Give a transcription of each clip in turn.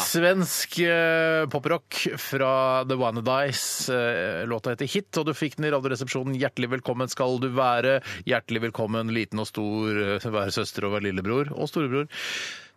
Svensk eh, poprock fra The Wanadies. Eh, låta heter Hit, og du fikk den i Radioresepsjonen. Hjertelig velkommen skal du være. Hjertelig velkommen, liten og stor, eh, være søster og være lillebror. Og storebror.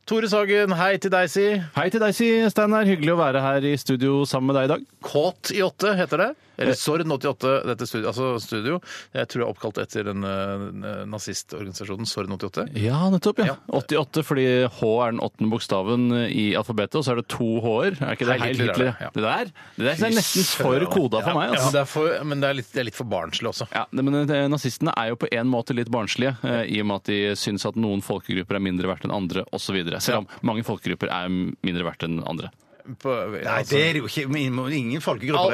Tore Sagen, hei til deg, si. Hei til deg, si Steinar. Hyggelig å være her i studio sammen med deg i dag. Kåt i åtte heter det. Eller Sorn 88, dette studio, altså studio. Jeg tror jeg er oppkalt etter den eh, nazistorganisasjonen Sorn 88. Ja, nettopp. Ja. 88, fordi H er den åttende bokstaven i alfabetet, og så er det to H-er. Er ikke det Heil Heil Hitler, Hitler? ja. Det der det der er nesten for koda for meg. Ja, men altså. det er, for, men det er, litt, det er litt for barnslig også. Ja, det- men eh, Nazistene er jo på en måte litt barnslige, eh, i og med at de syns at noen folkegrupper er mindre verdt enn andre osv. Selv om mange folkegrupper er mindre verdt enn andre. På, altså- Nei, det er det jo ikke. Ingen folkegrupper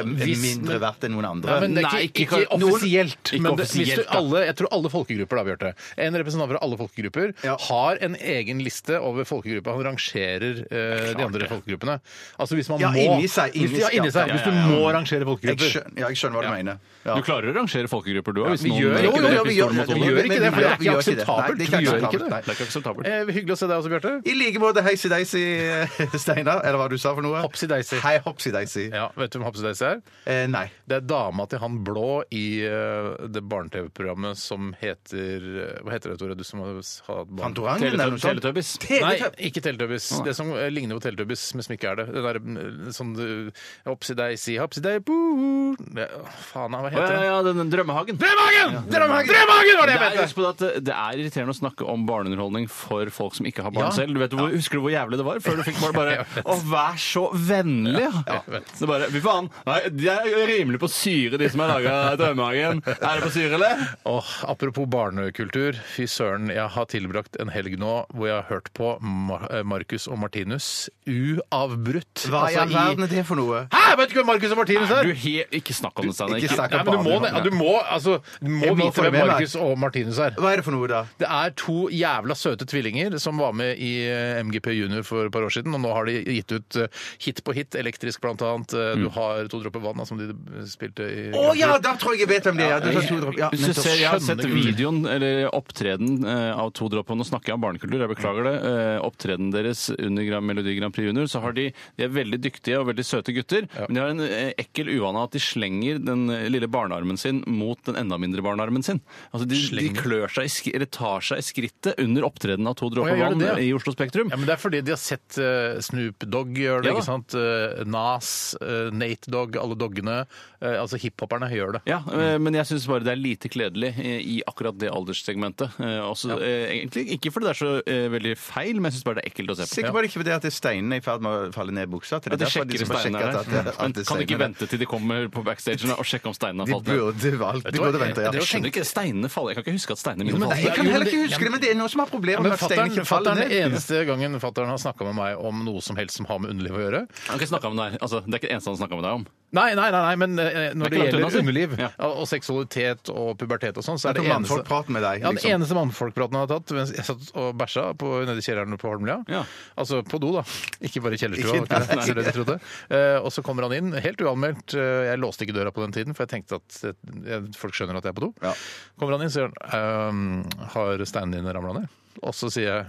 Al- er hvis- mindre verdt enn noen andre. Ja, men det er Nei, ikke, ikke- ikke offisielt. ikke men det, offisielt, hvis du, da. alle, jeg tror alle folkegrupper, da, Bjarte. En representant fra alle folkegrupper Ja. har en egen liste over folkegrupper. Han rangerer eh, de andre folkegruppene. Altså hvis man Ja, må inni seg, inni hvis, ja, seg, inni seg. ja, Hvis du må rangere Jeg folkegrupper. skjønner, ja, jeg skjønner hva du mener. Ja. Du klarer å rangere folkegrupper, du òg? vi gjør ikke det. Jo, jo, vi gjør- det. Vi gjør ikke det, for det er Vi ikke gjør ikke akseptabelt. Vi gjør ikke det. Det det. Nei, det er ikke akseptabelt, nei. er ikke akseptabelt. Eh, hyggelig å se deg også, Bjarte. I like måte, heisi-deisi, eh, Steinar. Eller hva du sa for noe? Hopsi-deisi. Hei, hopsi-deisi. Ja, vet du hvem Hapsedeis er? Eh, nei. Det er dama til han blå i eh, det barne-TV-programmet som heter eh, Hva heter det, Tore? Du som har har hatt barn? Fantorangen eller noe sånt? sånn- Teletubbies. Nei, ikke Teletubbies. Det som eh, ligner på Teletubbies, men som ikke er det. Det der eh, sånn eh, Opsi deg, si hapsi deg, boo Det- å, Faen, hva Ja, heter ja, det? ja, den den Drømmehagen. Drømmehagen! Drømmehagen! Drømmehagen var det Det jeg er, mente! husk på at eh, det er irriterende å snakke om barneunderholdning for folk som ikke har barn Ja. selv. Du vet hvor, Husker du hvor jævlig det var før du fikk barn? Bare, Å, vær så vennlig! Ja. jeg vet. Det er bare, Fy faen, nei, de er rimelig på syre, de som har laga Drømmehagen. Er det på syre, eller? Åh, apropos barnekultur. Fy søren, jeg har tilbrakt en helg nå hvor jeg har hørt på Mar eh, Marcus og Martinus uavbrutt. Hva i Altså, all verden er det for noe? Hæ, vet du ikke hvem Marcus og Martinus Du, er? he, ikke snakk om det, Steinar. Ikke Ikke- snakk Nei, men du må, ne- du må, altså, du må Jeg må vite få det hvem med meg. Marcus og Martinus er. Hva er det for noe, da? Det er to jævla søte tvillinger som var med i eh, MGP Junior for et par år siden, og nå har de gitt ut eh, hit på hit, elektrisk blant annet. Eh, Du har to dropper vann, da, som de eh, spilte i Mm. Å ja, da tror jeg jeg vet hvem det er! Du sa to dråper. Ja, Hvis du nettopp. ser, jeg har skjønne sett gutter. videoen, eller opptreden eh, av To Dropper Nå snakker jeg om barnekultur, jeg beklager det. Eh, opptredenen deres under Grand Melodi Grand Prix Junior, så har de De er veldig dyktige og veldig søte gutter, men de har en eh, ekkel uvane at de slenger den eh, lille barnearmen sin mot den enda mindre barnearmen sin. Altså de, de klør seg i sk eller tar seg i skrittet under opptredenen av To Å, Dropper ja, gjør Vann de det, ja? i Oslo Spektrum. Ja, men Det er fordi de har sett eh, Snoop Dogg gjøre det. Ja da. ikke sant? Eh, Nas, eh, Nate Dogg, alle doggene. eh, altså hiphoperne gjør det. Ja, eh, men jeg syns bare det er lite kledelig eh, i akkurat det alderssegmentet. Eh, Også, eh, egentlig ikke fordi det er så eh, veldig feil, men jeg syns bare det er ekkelt å se på. Sikker på det ikke fordi at steinene er i ferd med å falle ned i buksa? at Ja, de derfor sjekker liksom har steinen sjekket der. at- at- at Men det kan de ikke steinene- vente til de kommer på backstagen og sjekke om steinene har De falt ned? burde valgt De du hva, burde vente, det er ja. jo- Jeg skjønner ikke, steinene faller. Jeg kan ikke huske at steinene mine men Nei, faller. Jeg kan Jo, men heller ikke det- huske det, men det er noen som har problemer Men med at steinene ikke fatteren, faller den ned. eneste gangen fattern har snakka med meg om noe som helst som har med underliv å gjøre, Han kan ikke snakke om det, her. altså, det er ikke det eneste han snakker med deg om. Nei, nei, nei, nei men eh, når det, Det er ikke langt gjelder unna, si. underliv Ja. og, og seksualitet og pubertet og sånn, så er Det det er eneste mannfolkpraten med deg, Ja, liksom. den eneste mannfolkpraten jeg har tatt mens jeg satt og bæsja på, nede i kjelleren på Holmlia. Ja. Altså på do, da. Ikke bare i kjellerstua. Ikke- var ikke det? Det er det de trodde. Eh, og så kommer han inn, helt uanmeldt. Eh, jeg låste ikke døra på den tiden, for jeg tenkte at eh, folk skjønner at jeg er på do. Ja. Kommer han inn, sier han ehm, Har steinene dine ramla ned? Og så sier jeg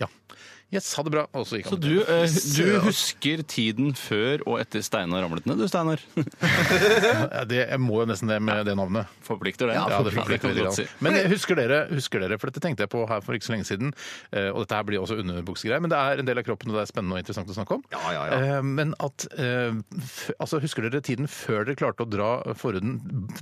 ja. Yes, ha det bra. Og så gikk han. Så du, eh, du husker tiden før og etter Steinar ramlet ned, du, Steinar? Ja, det, jeg må jo nesten det med det navnet. Forplikter det. Ja, det fikk det litt kan du godt si. grann. Men husker dere, husker dere, for dette tenkte jeg på her for ikke så lenge siden, eh, og dette her blir også underbuksegreier, men det er en del av kroppen, og det er spennende og interessant å snakke om. Ja, ja, ja. Eh, Men at eh, f- altså, Husker dere tiden før dere klarte å dra forhuden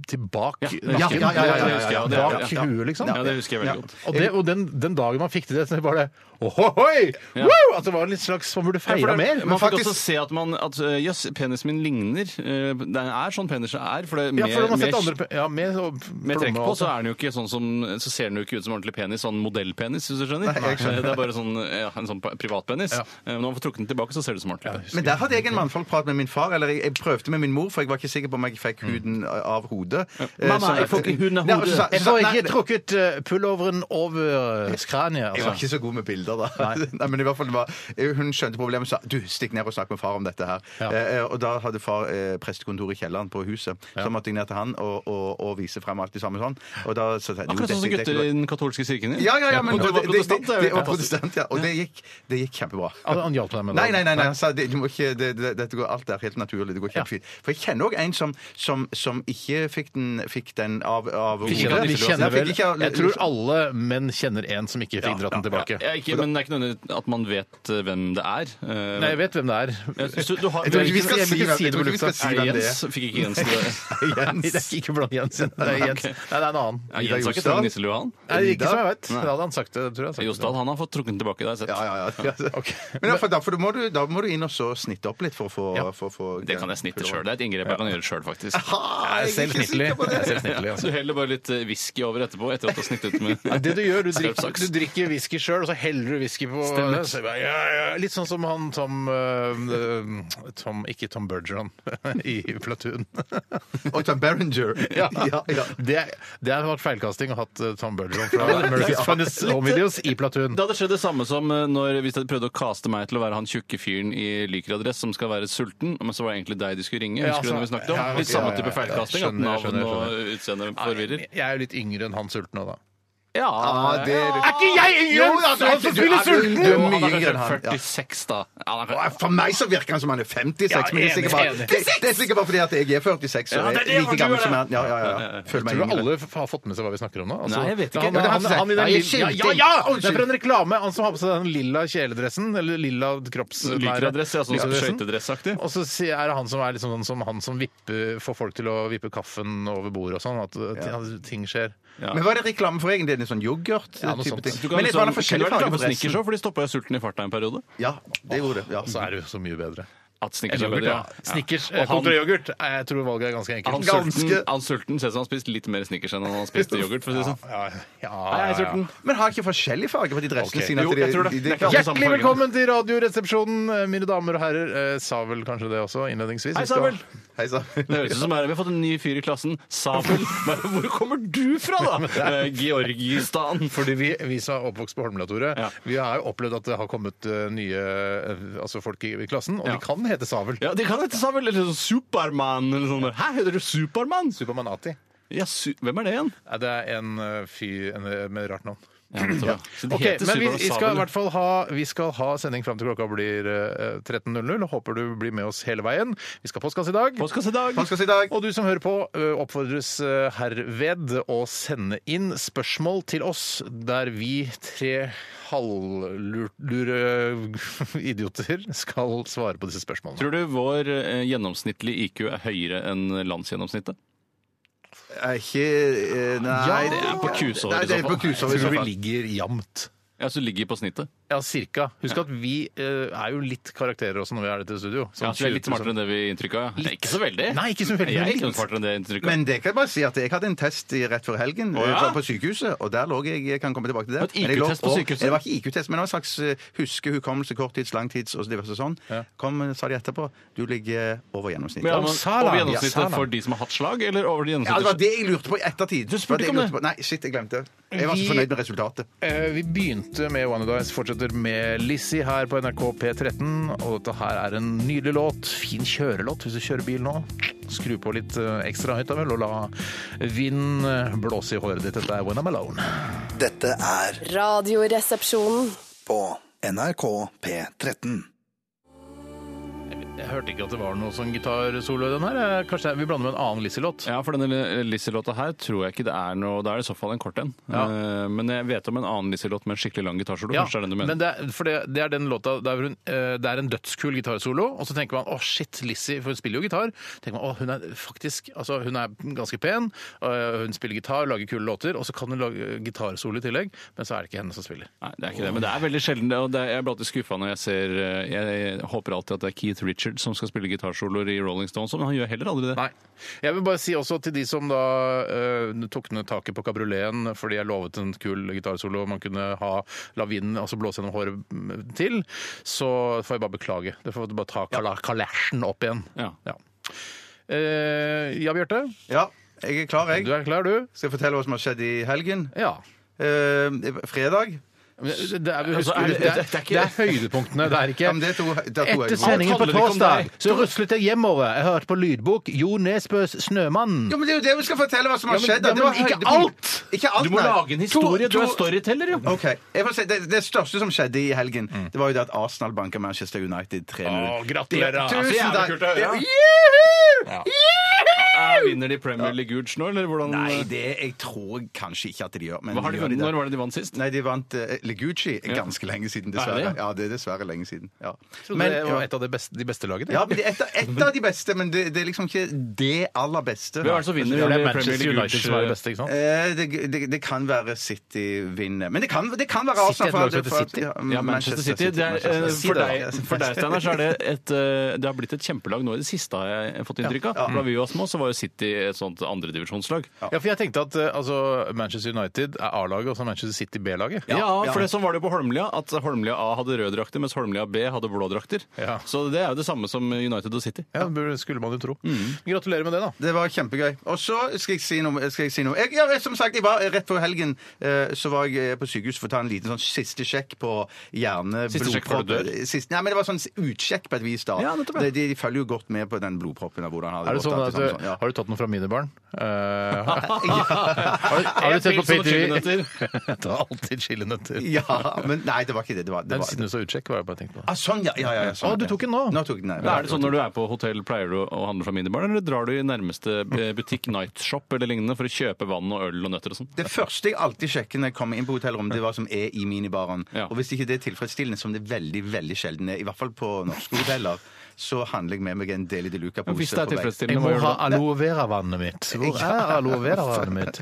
tilbake Ja, ja, ja, ja, ja, ja, ja, ja, ja, ja. Bak huet, liksom? Ja, det husker jeg veldig godt. Og, det, og den, den dagen man fikk til det, så var det ohohoi! Ja. Wow! At Altså, det var litt slags Man burde Ja, for feira det- mer. Man men fikk faktisk- også se at man at, øh, Jøss, penisen min ligner. øh, Det er sånn penisen er. For det, Ja, for man har med, sett andre pe- ja, med, og med plomme trekk og på alt så det. er den jo ikke sånn som, så ser den jo ikke ut som ordentlig penis, sånn modellpenis, hvis du skjønner. Nei, jeg skjønner. Det er bare sånn, ja, en sånn privatpenis. Ja. Eh, Når man får trukket den tilbake, så ser det ut som ordentlig penis. Men der hadde jeg en mannfolkprat med min far. Eller jeg, jeg prøvde med min mor, for jeg var ikke sikker på om jeg fikk huden av hodet. Eh, Mm. Mamma, så- jeg får ikke huden av Ja, og så hodet. sa- Jeg så sa- får nei, ikke trukket eh, pulloveren over kraniet. Jeg var Altså. ikke så god med bilder, da. Nei. men i hvert fall det var, eh, Hun skjønte problemet og sa du, stikk ned og snakk med far om dette her. Ja. Eh, og da hadde far eh, prestekontor i kjelleren på huset. Så måtte jeg ned til han og, og, og vise frem alt det samme sånn. Og da så sa jeg, jo, Akkurat sånn som dette- dette gutter går- i den katolske kirken din. Ja, ja, ja, men og du og var det- det- protestant, det- det er det- jo og protestant, ja. Og det gikk, det gikk kjempebra. Han- han hjalp deg med det? Nei, nei, nei, nei. han sa, det, du må ikke, det, det, dette går, alt er helt naturlig. Det går kjempefint. For jeg kjenner òg en som, som, som ikke fikk den, fikk den av, av Vi kjenner, vi hodet. kjenner Nei, vel fikk ikke av- Jeg tror alle menn kjenner en som ikke fikk dratt den tilbake. Ja, ikke, men det er ikke nødvendig at man vet eh, hvem det er. Eh, Nei, jeg vet hvem det er. jeg synes du, du har, Jeg tror du ikke vi er skal Jeg vil si, ikke hvem- si det jeg tror på ikke vi lufta. skal si Er det hvem det Jens? Fikk ikke Jens det? Nei, det er er. ikke blant Jensen. Det er Jens. Nei, det er en annen. Ja, Jens har ikke Jostad? trukket nisselua, han. Nei, ikke som jeg vet. Det hadde han sagt. Det, tror jeg han sagt. Jostad, han har fått trukket den tilbake. Det har jeg sett. Ja, ja, ja. Ok. Men i hvert fall, da, for da, må du, da må du inn og så snitte opp litt for å få Ja. for å få- Det kan jeg snitte sjøl. Det er et inngrep jeg kan gjøre sjøl, faktisk. Ha, Jeg er jeg er selv ikke snittlig. sikker på det. Jeg er selv snittlig, altså. Du heller bare litt eh, whisky over etterpå, etter at du har snittet med Ja, det du gjør, du drikker, Skarpsaks. du drikker whisky sjøl, og så heller du whisky på Stemmer. Så jeg bare, ja, ja. Litt sånn som han Tom, eh, Tom Ikke Tom Bergeron i Platoon. Og Tom Berenger. Ja. Ja, ja. Det, er- det har vært feilkasting å hatt eh, Tom Bergeron fra America's Funniest Home Videos i Platoon. Det hadde skjedd det samme som eh, når, hvis de prøvde å kaste meg til å være han tjukke fyren i lykeradress som skal være sulten, men så var det egentlig deg de skulle ringe. Ja, Husker du altså, når vi snakket om? ja, Litt samme ja, ja, type ja. feilkasting. At Skjønner, navn skjønner, og utseende forvirrer. Jeg er jo litt yngre enn han sultne òg, da. Ja, Ja, det er Er ikke jeg yngre enn da, han som du- spiller ja, du- sulten?! Du er Jo, mye han er yngre enn han. kanskje Ja. 46, da. Ja, han er Å, kanskje- For meg så virker han som han er 56, Ja, men det er enig, sikkert bare enig. Det er sikkert- det er sikkert bare fordi at jeg er 46 Ja, det er og er det, for like du gammel er som det. han. Ja, ja, ja. Føler meg Tror du yngre. alle f- har fått med seg hva vi snakker om nå? Altså, Nei, jeg vet ja, ikke. Han, Ja, det har han, jeg han, i sett. den Nei, lilla, skilting. ja, ja, Å, Det er fra en reklame. Han som har på seg den lilla kjeledressen, eller lilla Lykeradress, ja, kroppsdressen. sånn skøytedressaktig. Og så sier- er det han som er liksom sånn som han som vipper, får folk til å vippe kaffen over bordet og sånn. At at ting skjer. Ja. Men var det reklame for egentlig? En sånn yoghurt? Ja, noe type sånt. ting? Du kan Men det liksom- var noen forskjellige kunne vært glad farger på for Snickers dressen. også, for de stoppa jo sulten i farta en periode. Ja, det gjorde det. Ja. Så er det jo så mye bedre. At Snickers er Yoghurt, bedre, ja. ja. Snickers Og eh, han- kontra yoghurt. eh, Jeg tror valget er ganske Han enkelt. sulten, Ganske- han sulten ser ut som han har spist litt mer Snickers enn han har spist yoghurt. for å si det sånn. Ja, ja, Hei, hei, ja, ja. sulten. Men har ikke forskjellige farger på de Ok. dressene sine? at Jo, de- jeg tror det. de- de- Det er ikke alle samme Hjertelig fargen. velkommen til Radioresepsjonen, eh, mine damer og herrer. Eh, Sa vel kanskje det også innledningsvis? Hei, Vi skal- Sabel! Hei sann. Det høres ut som her, Vi har fått en ny fyr i klassen. Sabel. Bare, Hvor kommer du fra, da? Eh, Georgistan. Fordi vi, vi som er oppvokst på Holmlia, Tore, Ja. vi har jo opplevd at det har kommet eh, nye eh, altså folk i, i klassen, og Ja. de kan hete Savel. Ja, De kan hete Sabel eller sånn Supermann eller sånn. Hæ, heter du Supermann? Supermanati. Ja, su Hvem er det igjen? Nei, Det er en eh, fyr en, eh, med rart navn. Ja, så de Ok, heter men vi, Superman vi skal Sabel. i hvert fall ha, vi skal ha sending fram til klokka blir eh, 13.00. Håper du blir med oss hele veien. Vi skal ha postkasse i dag. Postkasse i dag. Postkasse i dag. Og du som hører på, ø, oppfordres ø, herved å sende inn spørsmål til oss der vi tre halvlure idioter skal svare på disse spørsmålene. Tror du vår eh, gjennomsnittlige IQ er høyere enn landsgjennomsnittet? Er ikke eh, Nei. Ja, det på kusehår i Nei, det er så på fall. kusehår Tror i så du vi fall. ligger jevnt? Ja, så ligger på snittet. Ja, cirka. Husk at vi ø, er jo litt karakterer også når vi er i dette studio. Ja, så vi er litt smartere enn det vi inntrykka. Ja. Ikke så veldig. Nei, ikke så veldig, Jeg er men ikke litt. noe smartere enn det inntrykket. Men det kan jeg bare si at jeg hadde en test i- rett før helgen Å, ja? eh, på sykehuset, og der lå jeg Jeg kan komme tilbake til det. Et Men jeg lå- IQ-test på og- sykehuset? Det var ikke IQ-test, men det var en slags eh, huske, hukommelse, korttids, langtids og diverse sånn. Kom, sa de etterpå, du ligger over gjennomsnittet. Men, Ja, ja, men, Salam. over Ja, Salam. gjennomsnittet for de som har hatt slag, eller over de det var gjennomsnittet? det jeg lurte på i ettertid. Du spurte Det var det jeg ikke om lurte på. Nei, shit, jeg glemte. Jeg var så Vi- fornøyd med resultatet. Eh, Vi begynte med One of Dice, fortsetter med Lizzie her på NRK P13. Og dette her er en nydelig låt. Fin kjørelåt hvis du kjører bil nå. Skru på litt eh, ekstra høyt da vel, og la vinden eh, blåse i håret ditt. Dette er When I'm Alone. Dette er Radioresepsjonen. på NRK P13. Jeg Jeg hørte ikke at det var noe sånn gitarsolo i den her. Eh, Kanskje vi blander med en annen Lisselott? Ja, for denne Lisselåta her tror jeg ikke det er noe Da er det i så fall en kort en. Ja. Eh, Men jeg vet om en annen Lisselåt med en skikkelig lang gitarsolo. Kanskje det er den du mener. men det er, for det, det er den låta der hun, eh, Det er en dødskul gitarsolo, og så tenker man å shit, Lizzie, for hun spiller jo gitar. tenker man, å, Hun er faktisk, altså hun er ganske pen, øh, hun spiller gitar, lager kule låter, og så kan hun lage gitarsolo i tillegg, men så er det ikke henne som spiller. Nei, det er ikke det, men det er veldig sjelden. det, Og det er, jeg blir alltid skuffa når jeg ser eh, jeg, jeg håper alltid at det er Keith Richards som skal spille gitarsoloer i Rolling Stones, men han gjør heller aldri det. Nei. Jeg vil bare si også til de som da eh, tok ned taket på kabrioleten fordi jeg lovet en kul gitarsolo man kunne ha la vinden altså blåse gjennom håret mm, til, så får jeg bare beklage. Det får du bare ta kala- kalesjen opp igjen. Ja. Ja. Eh, ja, Bjarte. Ja, jeg er klar, jeg. Du er klar, du? Skal jeg fortelle hva som har skjedd i helgen? Ja. Eh, fredag. Men Det er, Altså, er det, det- er, det er det ikke- er høydepunktene. Det er ikke Ja, men det er to, det er to Etter øyeblikk. sendingen på handler ikke om torsdag deg. så ruslet jeg hjemover. Jeg hørte på lydbok Jo Nesbøs 'Snømannen'. Ja, men det er jo det vi skal fortelle hva som har Ja, men- skjedd. da. ja, men Det var ikke høydepunkt. alt! Ikke alt, Du må nei. lage en historie! To- Du er to- storyteller, jo! Ok, jeg får si, det, det største som skjedde i helgen, Mm. det var jo det at Arsenal banka Manchester United 3-0. Å, gratulerer, Det- altså, Tusen jævlig takk! kult å høre. Det- Juhu! Er- Vinner de Premier League Goods nå, eller hvordan Nei, det jeg tror kanskje ikke at de gjør. Men hva har de gjør vunnet? det. Når var det de vant sist? Nei, de vant eh, Legucci ganske lenge siden, Er dessverre. det det? Ja, det er dessverre lenge siden. Ja. Men, det var et av de beste, de beste lagene. ja, men det er et, av- et av de beste, men det, det er liksom ikke det aller beste. Hvem er det som vinner Det er Premier Manchester League United som er det Goods? beste, ikke sant? Eh, Det, det, det kan være City vinner. Men det kan, det kan være City er Arsenal. et for- lag som heter for- City? ja, Ja, Mm, Manchester City. Det er, eh, Manchester City, for da. deg, for deg Steinar, så er det et eh, Det har blitt et kjempelag nå i det siste, har jeg fått inntrykk av. Da vi var små, så var jo City et sånt andredivisjonslag. Ja, for jeg tenkte at eh, altså, Manchester United er A-laget, og så er Manchester City B-laget. Ja, ja. for det sånn var det jo på Holmlia, at Holmlia A hadde røde drakter, mens Holmlia B hadde blå drakter. Ja. Så det er jo det samme som United og City. Ja, det burde- skulle man jo tro. Gratulerer med Mm. det, da. Det var kjempegøy. Og så skal jeg si noe. Skal jeg si noe. Jeg, ja, som sagt, jeg var rett før helgen eh, så var jeg eh, på sykehus for å ta en liten sånn siste sjekk på hjerne... Siste sjekk før du blodpropp- Siste, nei, men det var sånn utsjekk på et vis da. Ja, nettopp, ja. de, de, de følger jo godt med på den blodproppen og hvordan han Er hadde det sånn at, gått. du- Har du tatt noe fra mine barn? Eh, har, har du sett på Pils og PTV? chilinøtter. Det er alltid chilinøtter. ja. ja, men nei, det var ikke det. Det var, det Den var siden du sa utsjekk, var det bare jeg tenkte på. ah, sånn, ja. ja, ja, ja sånn, Å, du ja. tok den nå? Nå tok jeg den, nei. Da er det sånn Når du er på hotell, pleier du å handle fra minibar, eller drar du i nærmeste eh, butikk, nightshop eller lignende, for å kjøpe vann og øl og nøtter og sånn? Det første jeg alltid sjekker når jeg kommer inn på hotellrommet, det er hva som er i minibaren. Ja. Og hvis ikke det er tilfredsstillende, som det veldig veldig sjelden er, i hvert fall på norske hoteller, så handler jeg med meg en Deli de Luca-pose. Hvis det er på vei. Jeg tilfredsstillende, må hva gjør du ha da? aloe vera-vannet mitt. Hvor er aloe vera-vannet mitt?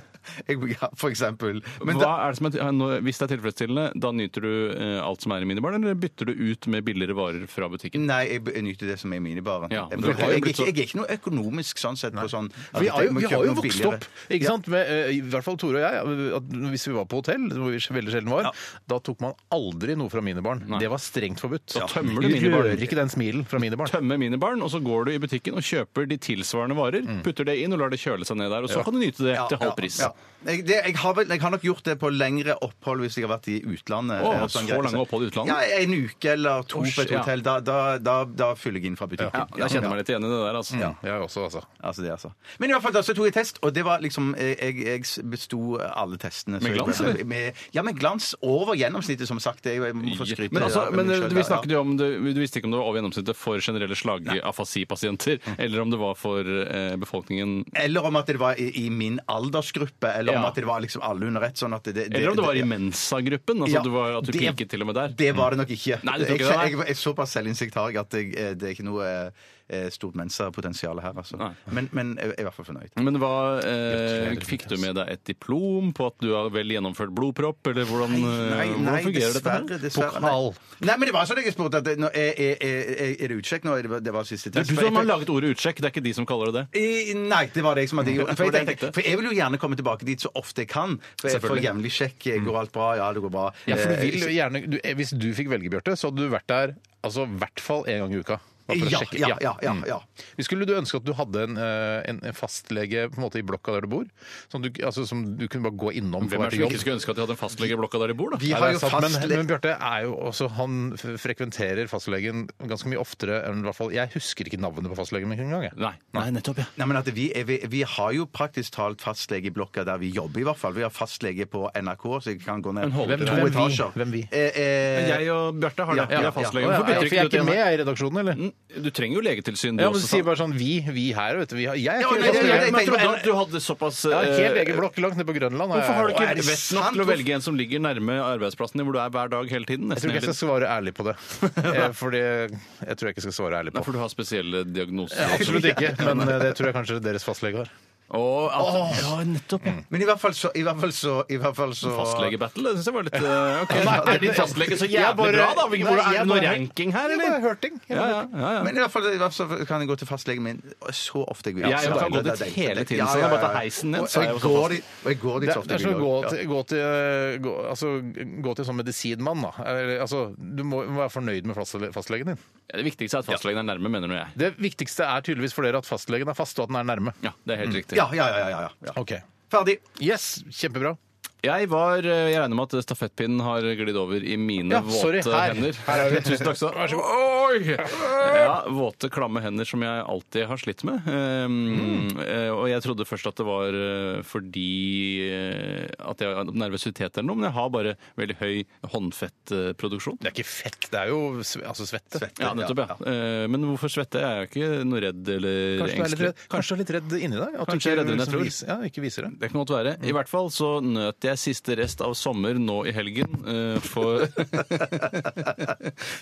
Jeg, ja, for eksempel. Men Hva da, er det som er, til- nå- hvis det er tilfredsstillende, da nyter du eh, alt som er i minibaren, eller bytter du ut med billigere varer fra butikken? nei, jeg, jeg nyter det som er i minibaren. Ja, men jeg, du har jeg, jo jeg, blitt så- jeg er ikke noe økonomisk sånn sett på sånn at Vi har jo, jeg må vi kjøpe har jo noe vokst billigere. opp, ikke sant? Med, eh, I hvert fall Tore og jeg. At hvis vi var på hotell, hvor vi veldig sjelden var, da tok man aldri noe fra minibarn. Det var strengt forbudt. Da tømmer du du minibaren. rører ikke den smilen fra minibarn. Tømme minibaren, og så går du i butikken og kjøper de tilsvarende varer, Mm. putter det inn og lar det kjøle seg ned der, og så kan du nyte det til halv pris. Ja, ja. Jeg, det, jeg, har vel, jeg har nok gjort det på lengre opphold hvis jeg har vært i utlandet. Å, eh, så greier. lange opphold i utlandet? Ja, En uke eller to Usch, på et ja. hotell. Da, da, da, da fyller jeg inn fra butikken. Ja, jeg kjenner meg litt igjen i det der, altså. Jeg også, altså. Altså det, altså. Men i hvert fall da så tok jeg test, og det var liksom eh, Jeg, jeg besto alle testene. så Med glans, jeg ble- eller? Med, ja, med glans over gjennomsnittet, som sagt. Jeg, jeg må få skryte Men, altså, av men meg selv, vi da, snakket jo om det, Du visste ikke om det var over gjennomsnittet for generelle slagafasi-pasienter, Mm. eller om det var for eh, befolkningen ja. Eller om at det var i, i min aldersgruppe, eller om Ja. at det var liksom alle under ett. Sånn at det, det, Eller om det var i Mensa-gruppen. Altså Ja, du var, at du det- piket til og med der. Det var det nok ikke. Nei, du tror jeg, ikke det, jeg, nei. jeg, er såpass selvinnsikt har jeg at jeg, eh, det er ikke noe eh, stort mensa-potensial her, altså. Nei. Men, men jeg er i hvert fall fornøyd. Men hva, eh, fikk du med deg et diplom på at du har vel gjennomført blodpropp, eller hvordan, eh, hvordan fungerer dette her? dessverre. Pokal. Nei. nei, men det var sånn jeg spurte at det, nå, er, er, er, er det utsjekk nå? Er det, det var siste Det er test. du For som har jeg- laget ordet utsjekk, det er ikke de som kaller det det. I- Nei, det var det jeg som hadde gjort. For Det jeg, var det jeg tenkte, tenkte. for jeg vil jo gjerne komme tilbake dit så ofte jeg kan. For jeg får Selvfølgelig. Mm. jevnlig sjekk. eh, Går alt bra? Ja, det går bra. Ja, for du Eh, vil jo gjerne, du, eh, hvis du fikk velge, Bjarte, så hadde du vært der altså, i hvert fall én gang i uka. bare for å ja, sjekke. ja, ja, ja, Mm. ja. Hvis skulle du ønske at du hadde en, eh, en, en fastlege på en måte i blokka der du bor? Som du, altså, som du kunne bare gå innom på vei Hvem er det som til ikke jobb? skulle ønske at de hadde en fastlege i blokka der de bor, da? Vi Nei, har Mm. det jo er sant, men fastle... men Bjarte er jo også Han f- frekventerer fastlegen ganske mye oftere enn i hvert fall Jeg husker ikke navnet på fastlegen min engang. jeg. Nei. Nei, nettopp, ja. Nei, men at vi, er, vi, vi har jo praktisk talt fastlege i blokka der vi jobber, i hvert fall. Vi har fastlege på NRK, så jeg kan gå ned Men holder to dere- vi? Hvem etasjer. Hvem vi? Eh, eh, Jeg og Bjarte har det. Ja, Vi ja, er fastlege. Å, ja, Mm. Hvorfor bytter for jeg ikke er du til ikke med jeg, i redaksjonen, eller? Du trenger jo legetilsyn, du Ja, men også. du sier sa- bare sånn vi, vi her, vet du. Vi har, jeg er Ja, ikke nei, helt nei, nei, enig. nei. Men jeg jeg trodde trodde- at du hadde såpass Jeg har helt eh, egen blokk langt nede på Grønland. Hvorfor har du jeg, ikke det vett nok sant? til å velge en som ligger nærme arbeidsplassen din, hvor du er hver dag hele tiden? jeg tror Nesten ikke hele jeg tiden. skal svare ærlig på det. Eh, Fordi jeg tror jeg ikke skal svare ærlig Nei, på for du har spesielle diagnoser. Absolutt ikke, men eh, det tror jeg kanskje deres fastlege har. Og at, ja, nettopp. ja. Men i hvert fall så, i hvert fall så, i hvert fall så Fastlegebattle, det syns jeg var litt eh, ok. Er din fastlege så Jeg jævlig bare- bra, da? Hvilken- Nei, Hvor, er jeg det noe bare- ranking her, Jeg bare eller? hørte ting. Jeg Ja, bare ja, ja, ja. Men i hvert fall, i hvert fall kan jeg gå til fastlegen min så ofte jeg vil. Jeg Så kan deilig, gå dit det er deilig. hele tiden, Ja, så jeg ja, bare ja, tar ja. heisen ned, så Og er jeg jeg også går fast. dit- Og jeg går dit Det så er, det ofte er jeg som å vil. gå ja. til, gå til, eh, gå, altså, gå til sånn medisinmann, da. Eller, Altså, du må må være fornøyd med fastle- fastlegen din. Ja, Det viktigste er at fastlegen er nærme, mener nå jeg. Det viktigste er tydeligvis for dere at fastlegen er fast, og at den er nærme. Mm. Ja, det er helt riktig. Ja, ja, ja, ja, ja, ja. Ok. Ferdig. Yes, kjempebra. Jeg var, eh, jeg regner med at stafettpinnen har glidd over i mine Ja, våte sorry, her. hender. Her er vi. Tusen takk skal du ha. Oi! Ja, våte, klamme hender som jeg alltid har slitt med. Um, Mm. eh, Og jeg trodde først at det var eh, fordi eh, at jeg har nervøsitet eller noe, men jeg har bare veldig høy håndfettproduksjon. Det er ikke fett, det er jo sve- altså svette. Ja, nettopp, ja. Eh, Men hvorfor svetter jeg? Jeg er jo ikke noe redd eller Kanskje du, er litt engstelig. redd, kanskje du er litt redd inni deg? At du Kanskje jeg er reddere enn jeg tror. viser, ja, ikke viser det. Det kan godt være. I hvert fall så nøt jeg siste rest av sommer nå i helgen eh, for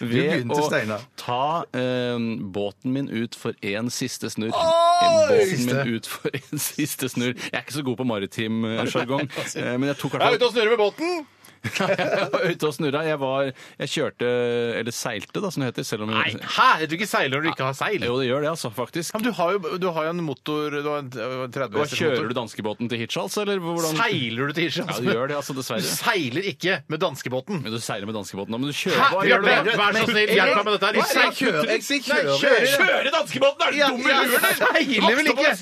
Ved begynte, å Steinar. ta eh, båten min ut for en siste snurr. Eh, båten min ut for en siste snurr. Jeg er ikke så god på maritim eh, sjargong, eh, men jeg tok i hvert fall og snurrer med båten! Jeg var ute og snurra. Jeg var Jeg kjørte, eller seilte, da, som det heter. Selv om Nei, hæ? Du ikke seiler når du ikke har seil. Jo, det gjør det, altså, faktisk. Ja, men du har jo, du har jo en motor Du har en t- en 30 Hva, hesters kjører motor. du danskebåten til Hirtshals, eller hvordan Seiler du til Irland? Ja, du gjør det, altså, dessverre. Du seiler ikke med danskebåten. Men du seiler med danskebåten. nå, Men du kjører Hæ? Hva Bjørn, gjør du da? Vær vær så snill, hjelp meg med dette her. Hva er det jeg kjører? Jeg sier kjører. Kjøre danskebåten! Er du Ja, dum i ja, huet, eller? Seiler vel ikke?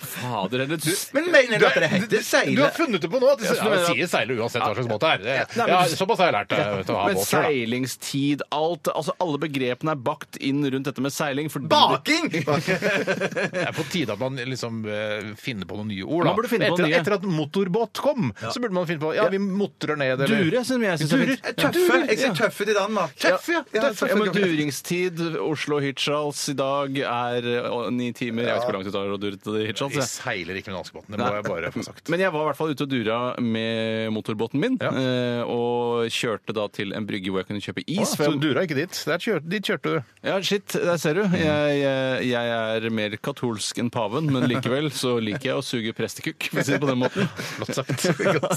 Fader, eller du, Men mener du at det Du- heter Du seile? har funnet det på nå. At de, ja, men- de sier seile uansett hva slags båt det er. Det- Nei, men- Ja, såpass har jeg lært eh, til å ha Men båt. selv, da. seilingstid, alt altså Alle begrepene er bakt inn rundt dette med seiling. Fordi det- Baking! Det er på tide at man liksom eh, finner på noen nye ord. Da. Man burde finne på etter, noen nye. etter at motorbåt kom, så burde man finne på Ja, vi motrer ned, eller Dure, som jeg syns Durer. Tøffe. Jeg sier tøffe til Danmark. Tøffe, ja. Ja, Ja, men tøffe. duringstid Oslo-Hirtshals i dag er eh, ni timer. Jeg vet ikke hvor langt det tar å dure til Hirtshals. Vi jeg. seiler ikke med danskebåten. Det må jeg bare få sagt. Men jeg var i hvert fall ute og dura med motorbåten min. Ja. eh, Og kjørte da til en brygge hvor jeg kunne kjøpe is. for Så jeg- du dura ikke dit? Der kjørte, dit kjørte du. Ja, shit, der ser du. Jeg, jeg, jeg er mer katolsk enn paven, men likevel så liker jeg å suge prestekukk, for å si det på den måten. Godt sagt.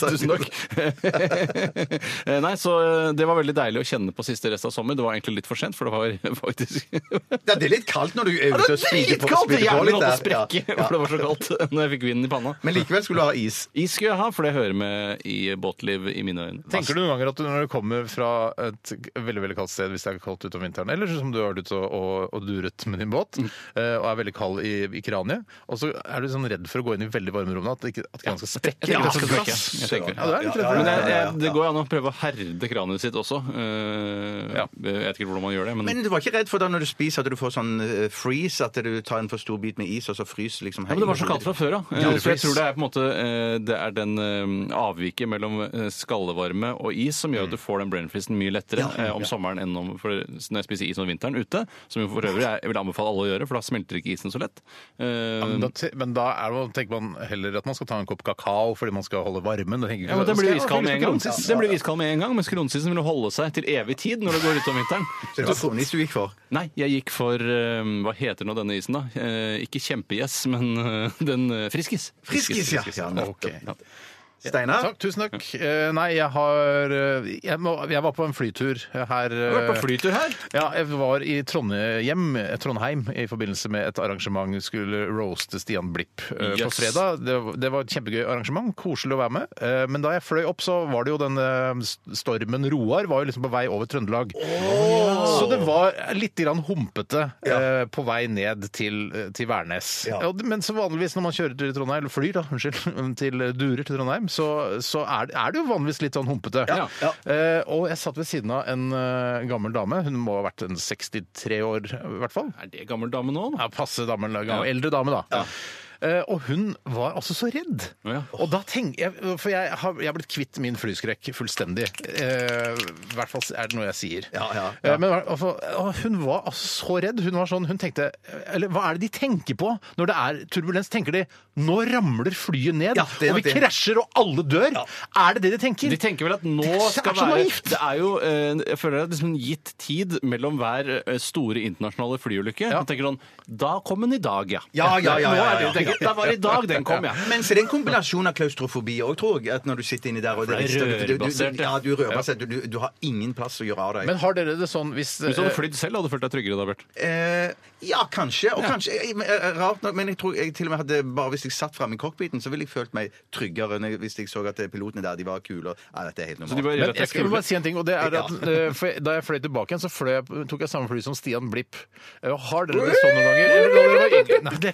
Tusen takk. Eh, Nei, så eh, det var veldig deilig å kjenne på siste rest av sommer. Det var egentlig litt for sent, for det var faktisk Ja, det er litt kaldt når du er ute og speeder på, speeder på Hjernen holdt litt på å der. sprekke, Ja, for ja. det var så kaldt når jeg fikk vinden i panna. Men likevel skulle du ha is. Is skulle jeg ha, for det hører med i båtliv i mine øyne. Tenker du noen ganger at du, når du kommer fra et veldig veldig kaldt sted, hvis det er kaldt ute om vinteren, eller sånn som du har vært ute og, og, og duret med din båt, Mm. eh, og er veldig kald i, i kraniet, og så er du sånn redd for å gå inn i veldig varme rom, da, at, ikke- at kraniet skal sprekke? Ja, eller skal skal sprekke. krasse. Jeg tenker det. Ja, du er litt redd Men for det. jeg, jeg, det går jo an å prøve å herde kraniet sitt også. Eh, Ja. Jeg vet ikke hvordan man gjør det, men Men du var ikke redd for da når du spiser at du får sånn eh, freeze, at du tar en for stor bit med is, og så fryser liksom Ja, men det var så kaldt fra før, ja. Eh, Julefreeze. Så jeg tror det er på en måte eh, Det er den eh, avviket mellom eh, skallevarme og is som gjør at du får den brain freezen mye lettere eh, om sommeren enn om for når jeg spiser is om vinteren ute, som jo for øvrig jeg, jeg vil anbefale alle å gjøre, for da smelter ikke isen så lett. Eh, Men da, te- men da er det, tenker man heller at man skal ta en kopp kakao fordi man skal holde varmen. Da tenker jeg ja, ikke men Den sånn, blir jo skal jeg iskald med en gang, fylle på kronsis? Den blir jo iskald med en gang, mens kronsisen vil jo holde seg til evig tid når det går ut om vinteren. Det var kronis du gikk for. Nei, jeg gikk for eh, Hva heter nå denne isen, da? Eh, Ikke kjempegjess, men eh, den eh, friskis. Friskis, ja. ja nettopp. Ok. Steinar? Takk, tusen takk. Eh, nei, jeg har eh, jeg, må, jeg var på en flytur her. eh, Du har vært på flytur her? Ja, jeg var i Trondheim, Trondheim i forbindelse med et arrangement. Skulle roaste Stian Blipp eh, på Yes. fredag. Det, var- det var et kjempegøy arrangement. Koselig å være med. Eh, men da jeg fløy opp, så var det jo den eh, stormen Roar var jo liksom på vei over Trøndelag. Så det var litt grann humpete eh, på vei ned til, eh, til Værnes. Ja, men så vanligvis når man kjører til Trondheim, eller flyr da, unnskyld, um, til eh, Durer til Trondheim, så, så er, er det jo vanligvis litt sånn humpete. Ja. Eh, og jeg satt ved siden av en eh, gammel dame, hun må ha vært en 63 år i hvert fall. Er det gammel dame nå? da? Ja, passe dame, eller gammel, Ja. eldre dame da. Eh, Og hun var altså så redd. Ja. Og da tenker jeg For jeg har, jeg har blitt kvitt min flyskrekk fullstendig. Eh, I hvert fall er det noe jeg sier. Ja, ja, Eh, Men hva- altså, å, hun var altså så redd. Hun var sånn, hun tenkte Eller hva er det de tenker på når det er turbulens? Tenker de nå ramler flyet ned, Ja, det er og vi nok det. krasjer og alle dør? Er det det de tenker? De tenker vel at nå Det er skal så være naivt! Det er jo, eh, jeg føler det er liksom gitt tid mellom hver eh, store internasjonale flyulykke. Man tenker sånn Da kom den i dag, ja. Ja, ja, ja, Nå er det jo tenkt. ja, ja, Da var det i dag den kom, ja. Men så det er en kombinasjon av klaustrofobi òg, tror jeg. At når du sitter inni der og Det er rister, du- du- du- rørbasert, ja. Ja, du er rørbasert. Du, du, du har ingen plass å gjøre av deg. Men har dere det sånn hvis Hvis du hadde eh, flydd selv, hadde du følt deg tryggere da, Bert. Eh, ja, kanskje. Og kanskje jeg, men, eh, Rart nok, men jeg tror jeg til og med hadde bare hvis jeg satt framme i cockpiten, så ville jeg følt meg tryggere enn jeg- hvis jeg så at eh, pilotene der de var kule. og- Nei, dette er helt normalt. Så de bare gjør Men at det jeg er skulle skumle. bare si en ting, og det er at Ja. eh, for jeg- Da jeg fløy tilbake igjen, så fløy jeg, tok jeg samme fly som Stian Blipp. Eh, Har dere det sånn noen ganger? Eller da dere var yngre? Nei, det er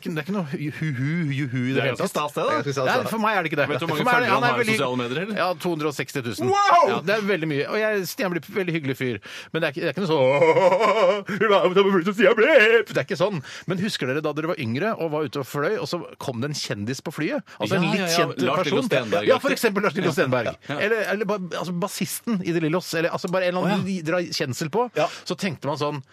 ikke, det er ikke noe hu-hu juhu i det Det er hele ganske tatt. stas, det, da. Jeg skal si Nei, alt for sammen. meg er det ikke det. Vet du hvor mange For meg er det- følgere han er har i veldig- sosiale medier, eller? Ja, 260 000. Wow! Ja, det er veldig mye. Og jeg, Stian Blipp, veldig hyggelig fyr. Men det er ikke, det er ikke noe sånn «Åh, la meg ta meg fly til Stian Blipp!» Det er ikke sånn. Men husker dere da dere var yngre og var ute og fløy, og så kom det en kjendis på flyet? Altså en Ja, litt ja, ja. kjent Lars Lillo person. Stenberg. Ja, for eksempel Lars Lillo Stenberg. Ja. Eller, eller bare, altså, bassisten i De Lillos. Eller altså bare en eller annen de drar kjensel på. Så tenkte man sånn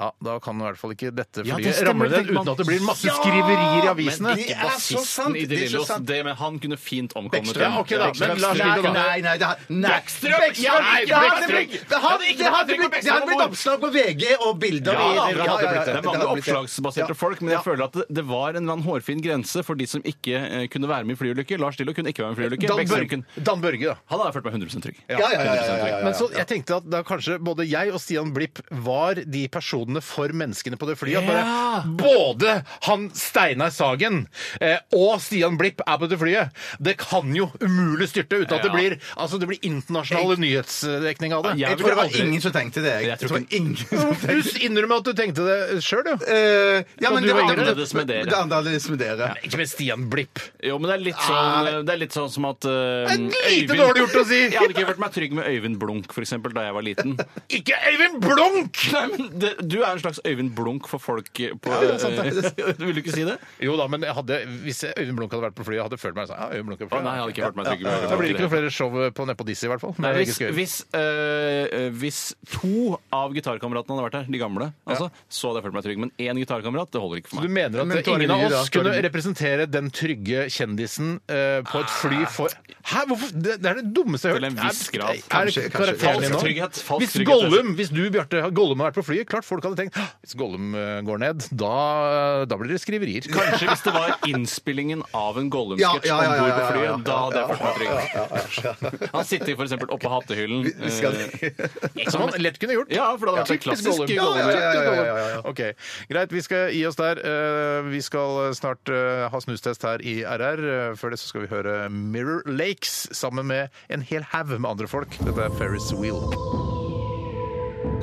ja, da kan i hvert fall ikke dette Ja, flyet det ramle stemmer, ned tenkte man. uten at det blir masse Ja, skriverier i avisene. Men Det ikke er så sant, bassisten i De det er så Lillos. sant. Det, men han kunne fint omkommet. Beckstrøm, ja, ok da, men Lars Lillo da. Nei, nei, det har- nei. Beckstrøm! Beckstrøm! Ja, nei, Det hadde Beckstrøm! blitt- det hadde- Ja, ikke det hadde tenk på blitt- Det Beckstrøm hadde blitt og oppslag på VG og bilder Ja, i- da, ja, det hadde ja, ja, blitt det. Det det er hadde mange blitt det. oppslagsbaserte Ja. folk, men jeg Ja. føler at det- det var en eller annen hårfin grense for de som ikke eh, kunne være med i flyulykker. Lars Lillo kunne ikke være med i flyulykker. Dan, Beckstrøm Børge, kunne- Dan Børge, da. Han hadde jeg følt meg 100 trygg. Ja, ja, ja, ja, ja, ja, ja, ja. Men så jeg tenkte at da kanskje både jeg og Stian Blipp var de personene for menneskene på det flyet. At Ja. bare, både han Steinar Sagen eh, og Stian Blipp er på det flyet. Det kan jo umulig styrte uten at det Ja. blir, altså, det blir internasjonal nyhetsdekning av det. Ja, Jeg tror det var ingen som tenkte det. Jeg tror ikke- ingen som tenkte det. Du innrømmer at du tenkte det sjøl, jo. Eh, ja, men du det var var annerledes med dere. Det er annerledes med dere. Ikke med Stian Blipp. Jo, men det er litt sånn, det er litt sånn som at eh, Det er lite dårlig gjort å si. Jeg hadde ikke følt meg trygg med Øyvind Blunk, for eksempel, da jeg var liten. Ikke Øyvind Blunk! Nei, men det, Du er en slags Øyvind Blunk for folk på eh, Ja, det er sant, det er sant. Vil du ikke si det? Jo da, men jeg hadde, hvis Øyvind Blunk hadde vært på flyet, hadde jeg følt meg sånn. Ja, Øyvind Blunk er på Å, nei, jeg flyet. hadde ikke følt meg trygg. Da blir det ikke noe flere show på Nedpå Disse, i hvert fall. Nei, Med Hege hvis, Skøyen. hvis, øh, øh, hvis to av gitarkameratene hadde vært her, de gamle, altså, så hadde jeg følt meg trygg. Men én gitarkamerat, det holder Så ikke for du meg. mener at Men Tore ingen av Lyre, da, oss Tore kunne Lyre. representere den trygge kjendisen eh, på et fly for Hæ, hvorfor? Det, det er det dummeste jeg har hørt. Ah, Til en viss Er- grad. Er, Kanskje- det kanskje. karakteren din Falsk nå? trygghet, falsk hvis trygghet, altså. Gollum, hvis du, Bjarte, har- Gollum har vært på flyet, klart folk hadde tenkt «Hå, hvis Gollum eh, går ned, da, da blir det skriverier. Kanskje hvis det var innspillingen av en Ja, Gollum-sketsj ja, ja, om ja, bord på ja, ja, ja. flyet, da hadde jeg følt meg Ja, trygg. ja, ja, ja. Han sitter f.eks. oppå hattehyllen. Vi- vi skal- øh, Som han lett kunne gjort. Ja, for det hadde vært en Typisk klassisk Gollum. Gollum. Ja, ja, ja, ja, ja, ja, ja. Ok, Greit, vi skal gi oss der. Eh, Vi skal snart eh, ha snustest her i RR. Eh, Før det så skal vi høre Mirror Lakes sammen med en hel haug med andre folk. Dette er Ferris Wheel.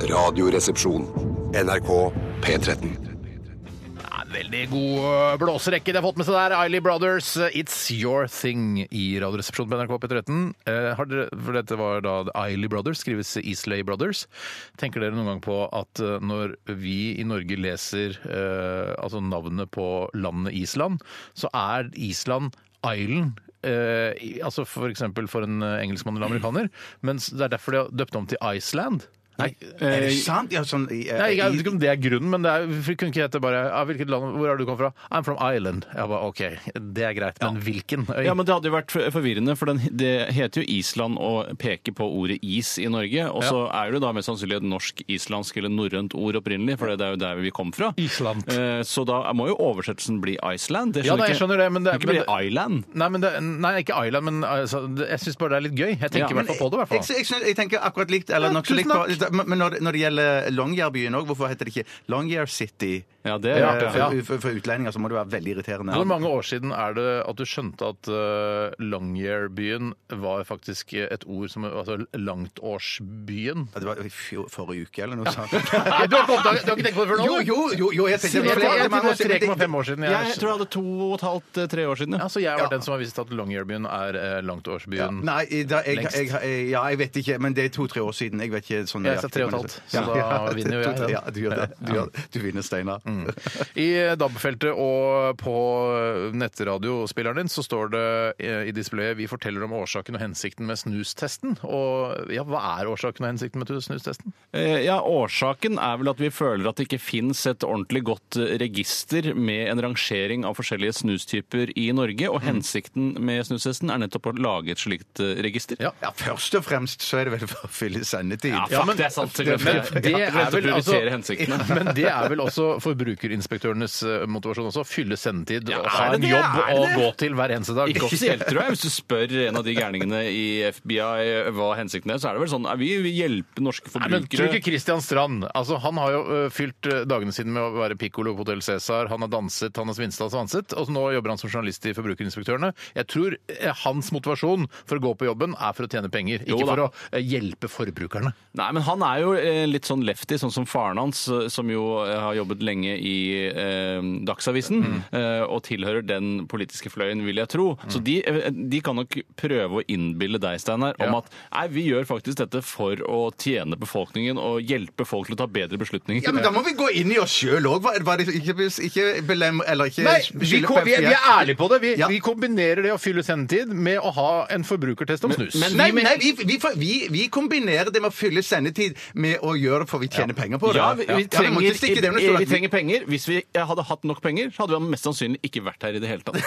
Radioresepsjon. NRK P13. Ja, en veldig god eh, blåserekke de har fått med seg der. Eiley Brothers, eh, It's Your Thing i Radioresepsjonen på NRK P13. Eh, har dere, for dette var da Eiley Brothers, skrives Islay Brothers. Tenker dere noen gang på at eh, når vi i Norge leser eh, altså navnet på landet Island, så er Island Island eh, i- altså for eksempel for en eh, engelskmann eller amerikaner, mens det er derfor de har døpt om til Iceland. Nei, Er det Eh, sant? Ja, sånn, i- Nei, jeg i- vet ikke om det er grunnen, men det er, vi kunne ikke hete bare ah, hvilket land, 'Hvor er du kommet fra?' 'I'm from Ireland'. Jeg bare, OK, det er greit, men hvilken? øy?» Ja, men Det hadde jo vært forvirrende, for den, det heter jo Island og peker på ordet is i Norge. Og så er det jo da mest sannsynlig et norsk-islandsk eller norrønt ord opprinnelig, for det er jo der vi kom fra. Island. Eh, Så da må jo oversettelsen bli Iceland. Det Ja, nei, jeg ikke- skjønner det, men det- kan ikke men bli Island. Nei, men det, nei, ikke Ireland, men altså, det- jeg syns bare det er litt gøy. Jeg tenker i Ja. hvert fall på det. i hvert fall. Jeg, jeg, synes- jeg tenker akkurat likt, eller Ja, nokså likt, tusen på, men- men når, det- når det gjelder Longyearbyen òg, hvorfor heter det ikke Longyear City? Eh, Ja, det er Ja, rart, ja. For, for, for utlendinger så må det være veldig irriterende. Hvor mange år siden er det at du skjønte at uh, Longyearbyen var faktisk et ord som Altså langtårsbyen? Ja, Det var i fjor, forrige uke eller noe sånt. Nei, du har ikke, oppdaget, du har ikke tenkt på det før nå? Jo, du? jo, jo, jo jeg Si tenkte det, flere- jeg- jeg- mange år det er siden, men det- 3,5 år siden. Jeg tror jeg hadde to og et halvt, eh, tre år siden. Altså, jeg har vært den som har visst at Longyearbyen er eh, langtårsbyen. Nei, da, jeg, Lengst. jeg, jeg, ja, jeg vet ikke, men det er to-tre år siden. Jeg vet ikke sånn Jeg jeg sa tre og et halvt, så da vinner jo jeg den. Mm. Ja, du gjør det. Du, gjør det. du vinner, Steinar. I DAB-feltet og på nettradiospilleren din så står det eh, i displayet vi forteller om årsaken og hensikten med snustesten. Og ja, hva er årsaken og hensikten med snustesten? Eh, Ja, Årsaken er vel at vi føler at det ikke fins et ordentlig godt eh, register med en rangering av forskjellige snustyper i Norge, Mm. og hensikten med snustesten er nettopp å lage et slikt eh, register. Ja. Ja, først og fremst så er det vel for å fylle sendetid. Ja, fuck, Ja, men- det er sant. Det, Men det Ja, er vel å altså, prioritere hensiktene. men det er vel også forbrukerinspektørenes eh, motivasjon også. å Fylle sendetid Ja, og ha er det en det? jobb Er å det det? gå til hver eneste dag. Ikke offisielt, tror jeg. Hvis du spør en av de gærningene i FBI hva hensikten er, så er det vel sånn at vi vil hjelpe norske Nei, men tror du forbrukere. ikke Christian Strand altså, Han har jo ø, fylt ø, dagene sine med å være pikkolo på Hotell Cæsar. Han har danset, han har svinset og svanset. Og så nå jobber han som journalist i Forbrukerinspektørene. Jeg tror eh, hans motivasjon for å gå på jobben er for å tjene penger, Jo ikke da. for å eh, hjelpe forbrukerne. Nei, men han er jo eh, litt sånn lefty, sånn som faren hans, eh, som jo eh, har jobbet lenge i eh, Dagsavisen, Mm. eh, og tilhører den politiske fløyen, vil jeg tro. Så de, eh, de kan nok prøve å innbille deg, Steinar, om Ja. at nei, vi gjør faktisk dette for å tjene befolkningen og hjelpe folk til å ta bedre beslutninger. Ja, men Da må vi gå inn i oss sjøl òg. Ikke, ikke belem... Eller ikke Nei, vi, skylde kom, vi, er- vi er FBI. ærlige på det. Vi, Ja. vi kombinerer det å fylle sendetid med å ha en forbrukertest om snus. men- Nei, nei vi, vi, får- vi, vi kombinerer det med å fylle sendetid med å gjøre det for vi tjener penger på det. Ja, vi, vi, Ja, men må trenger, ikke stikke det under vi, stolen. trenger penger. Hvis vi eh, hadde hatt nok penger, så hadde vi mest sannsynlig ikke vært her i det hele tatt.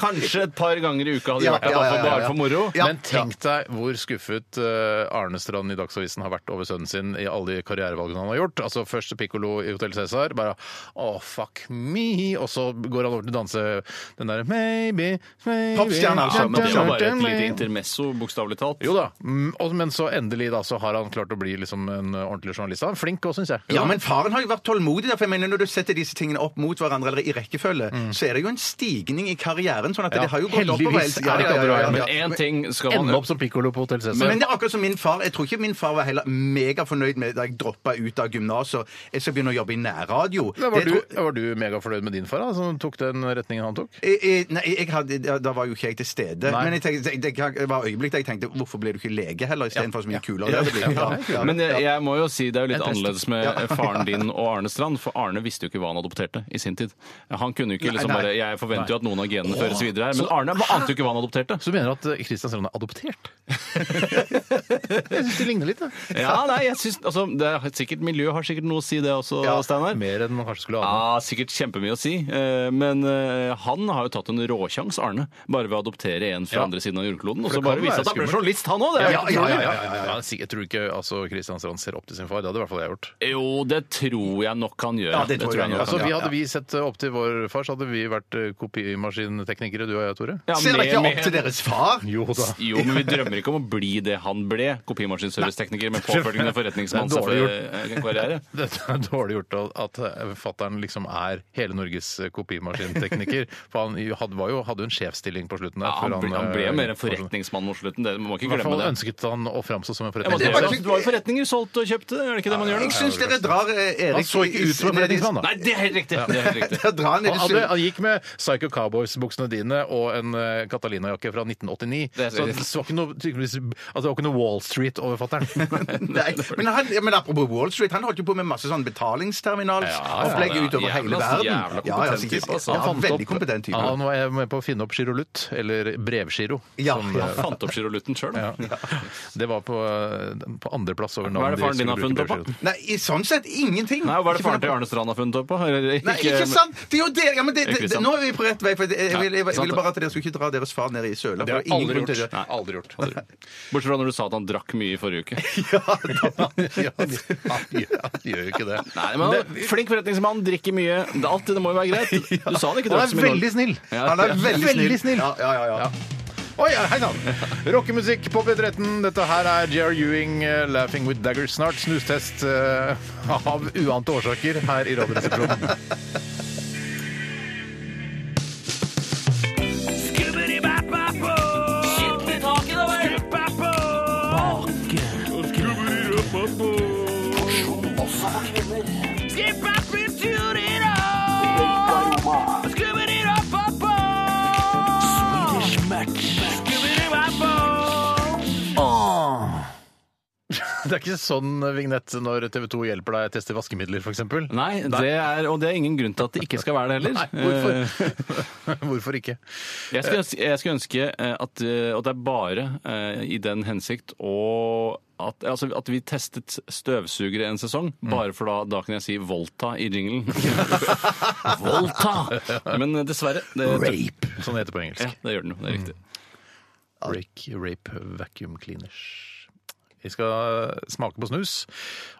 Kanskje et par ganger i uka hadde vi Ja, vært her, ja, bare ja, for- ja, bare ja. for moro. Ja. Men tenk deg hvor skuffet eh, Arne Strand i Dagsavisen har vært over sønnen sin i alle de karrierevalgene han har gjort. Altså Først pikkolo i Hotell Cæsar, bare åh, fuck me, og så går han over til å danse den derre maybe, maybe Popstjerne, altså, Ja, men det var bare et Maybe. lite intermesso, bokstavelig talt. Jo da, mm, og- men så endelig da, så har han klart å bli liksom en ordentlig journalist. Han er flink òg, syns jeg. Ja, men faren har jo vært tålmodig. da, for jeg mener Når du setter disse tingene opp mot hverandre eller i rekkefølge, så er det jo en stigning i karrieren. sånn at Mm. Ja, det har jo gått heldigvis oppover. er det ikke andre veien, Men én ting skal Ende man opp som pikkolo på Hotell Cæsar. Men, men det er akkurat som min far. Jeg tror ikke min far var heller megafornøyd med da jeg droppa ut av gymnaset. Jeg skal begynne å jobbe i nærradio. Da var, Det tror- du, var du megafornøyd med din far, da, som tok den retningen han tok? Jeg- jeg- Nei, jeg hadde, da da var jo ikke jeg til stede. Nei. Men jeg tenkte, det, det kan- det var øyeblikk der jeg tenkte hvorfor ble du ikke lege heller, istedenfor så mye kulere Ja. det hadde blitt. Ja. Ja. Men eh, jeg, jeg må jo si det er jo litt En prest. annerledes med faren din og Arne Strand, for Arne visste jo ikke hva han adopterte i sin tid. Han kunne jo ikke liksom nei. bare Jeg forventer jo at noen av genene føres videre her, men Arne ante jo ikke hva han adopterte. Så du mener at eh, Christian Strand er adoptert? jeg syns de ligner litt. Da. Ja, nei, jeg synes, altså, det er sikkert Miljø har sikkert noe å si det også, Ja, Steinar. Ah, Mer enn man kanskje skulle ane. Ja, sikkert kjempemye å si. eh, Men eh, han har jo tatt en råsjans, Arne, bare ved å adoptere en fra Ja. andre siden av jordkloden. Og For så det bare kan vise være at han ble skummelt. journalist, han òg! ja, ja, ja, ja, ja, ja. Jeg tror ikke altså, Christian Strand ser opp til sin far. Det hadde i hvert fall jeg gjort. Jo, det tror jeg nok han gjør. Ja, det tror jeg nok han Altså, han vi gjør. hadde vi sett eh, opp til vår far, så hadde vi vært eh, kopimaskinteknikere, du og jeg, Tore. Ja, Altså, Ser dere ikke med- opp til deres far? Jo da. Jo, men vi drømmer ikke om å bli det han ble, kopimaskinservicetekniker med påfølgende forretningsmann. Det er dårlig selvfølgelig, eh, karriere. Dette er dårlig gjort av- at fattern liksom er hele Norges eh, kopimaskintekniker. For han jo hadde, var jo, hadde jo en sjefsstilling på slutten der. Ja, han, før ble, han ble eh, jo mer en forretningsmann mot slutten, det må man I ikke hvert glemme fall det. ønsket han å framstå som en Ja, men det forretningsmann. var, det var jo forretninger, solgte og kjøpte, er det ikke det man gjør? Jeg nå? syns dere drar eh, Erik Han så ikke ut som en forretningsmann, da. Nei, det er helt riktig! Det er helt riktig. Dere drar han Han, i det han, ble, syv- han gikk med Psycho Cowboys-buksene dine og en eh, Catalina-jakke fra 1989. Det er så det riktig. var ikke noe, tydeligvis- altså, det var ikke noe Wall Street over fatter'n. Nei, men, han, ja, men apropos Wall Street, han holdt jo på med masse sånn betalingsterminalsopplegg Ja, ja, utover ja. hele Jævla- verden. jævla kompetent Ja, ja, sikkert. type, altså. Ja, Han veldig kompetent type. han var med på å finne opp Girolut, eller brevgiro. Ja, som, ja. Han fant opp Giroluten sjøl. eh, ja. Det var på, eh, på andreplass over Hva er navnet det faren din har funnet opp, da? brevgiro. Nei, i sånn sett ingenting. Nei, Hva er det Ikke faren for- til Arne eh, Strand har funnet opp? på? Eller Nei, ikke sant! Det er jo det, ja, men det, Ikke det, sant. nå er vi på rett vei. For det- jeg, ville- jeg, sant, ville bare at dere skulle ikke dra deres far ned i søla. for Det har jeg ingen grunn aldri til det. gjort. Nei, aldri gjort. Aldri. Bortsett fra når du sa at han drakk mye i forrige uke. Ja, han gjør- han gjør jo ikke det. Nei, men han, Flink forretningsmann, drikker mye. Det- Alt det må jo være greit. Du sa han ikke Han drakk er så mye. veldig snill. Ja. Han er veldig snill. Veldig snill. Ja, ja, ja, ja. Oi, hei sann! Rockemusikk på P13. Dette her er J.R. Ewing, eh, 'Laughing With Daggers'. Snart snustest eh, av uante årsaker her i Radioresepsjonen. Det er ikke sånn vignett når TV 2 hjelper deg å teste vaskemidler, f.eks. Nei, det er, og det er ingen grunn til at det ikke skal være det heller. Eh, Nei, hvorfor? hvorfor ikke? Jeg skulle, ønske- jeg skulle ønske eh, at, eh, at det er bare eh, i den hensikt å at, altså, at vi testet støvsugere en sesong, Mm. bare for da, da kan jeg si Volta i jinglen. Volta! Men eh, dessverre. Det, Rape. Sånn heter det på engelsk. Ja, det gjør den jo. Det er riktig. Break, rape vacuum cleaners. Vi skal smake på snus,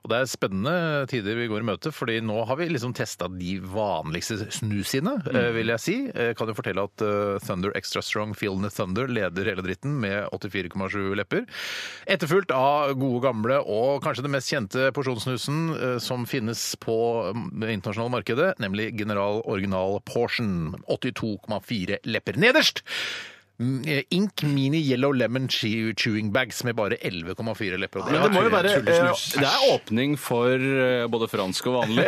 og det er spennende tider vi går i møte. fordi nå har vi liksom testa de vanligste snusene, eh, vil jeg si. Jeg kan jo fortelle at eh, Thunder Extra Strong Feel the Thunder leder hele dritten med 84,7 lepper. Etterfulgt av gode gamle og kanskje den mest kjente porsjonssnusen eh, som finnes på mm, det internasjonale markedet, nemlig General Original Portion. 82,4 lepper nederst! Mm, eh, Ink Mini Yellow Lemon Chew- Chewing Bags med bare 11,4 lepper. Og Men det må jo være eh, tullesnus. Det er åpning for eh, både fransk og vanlig.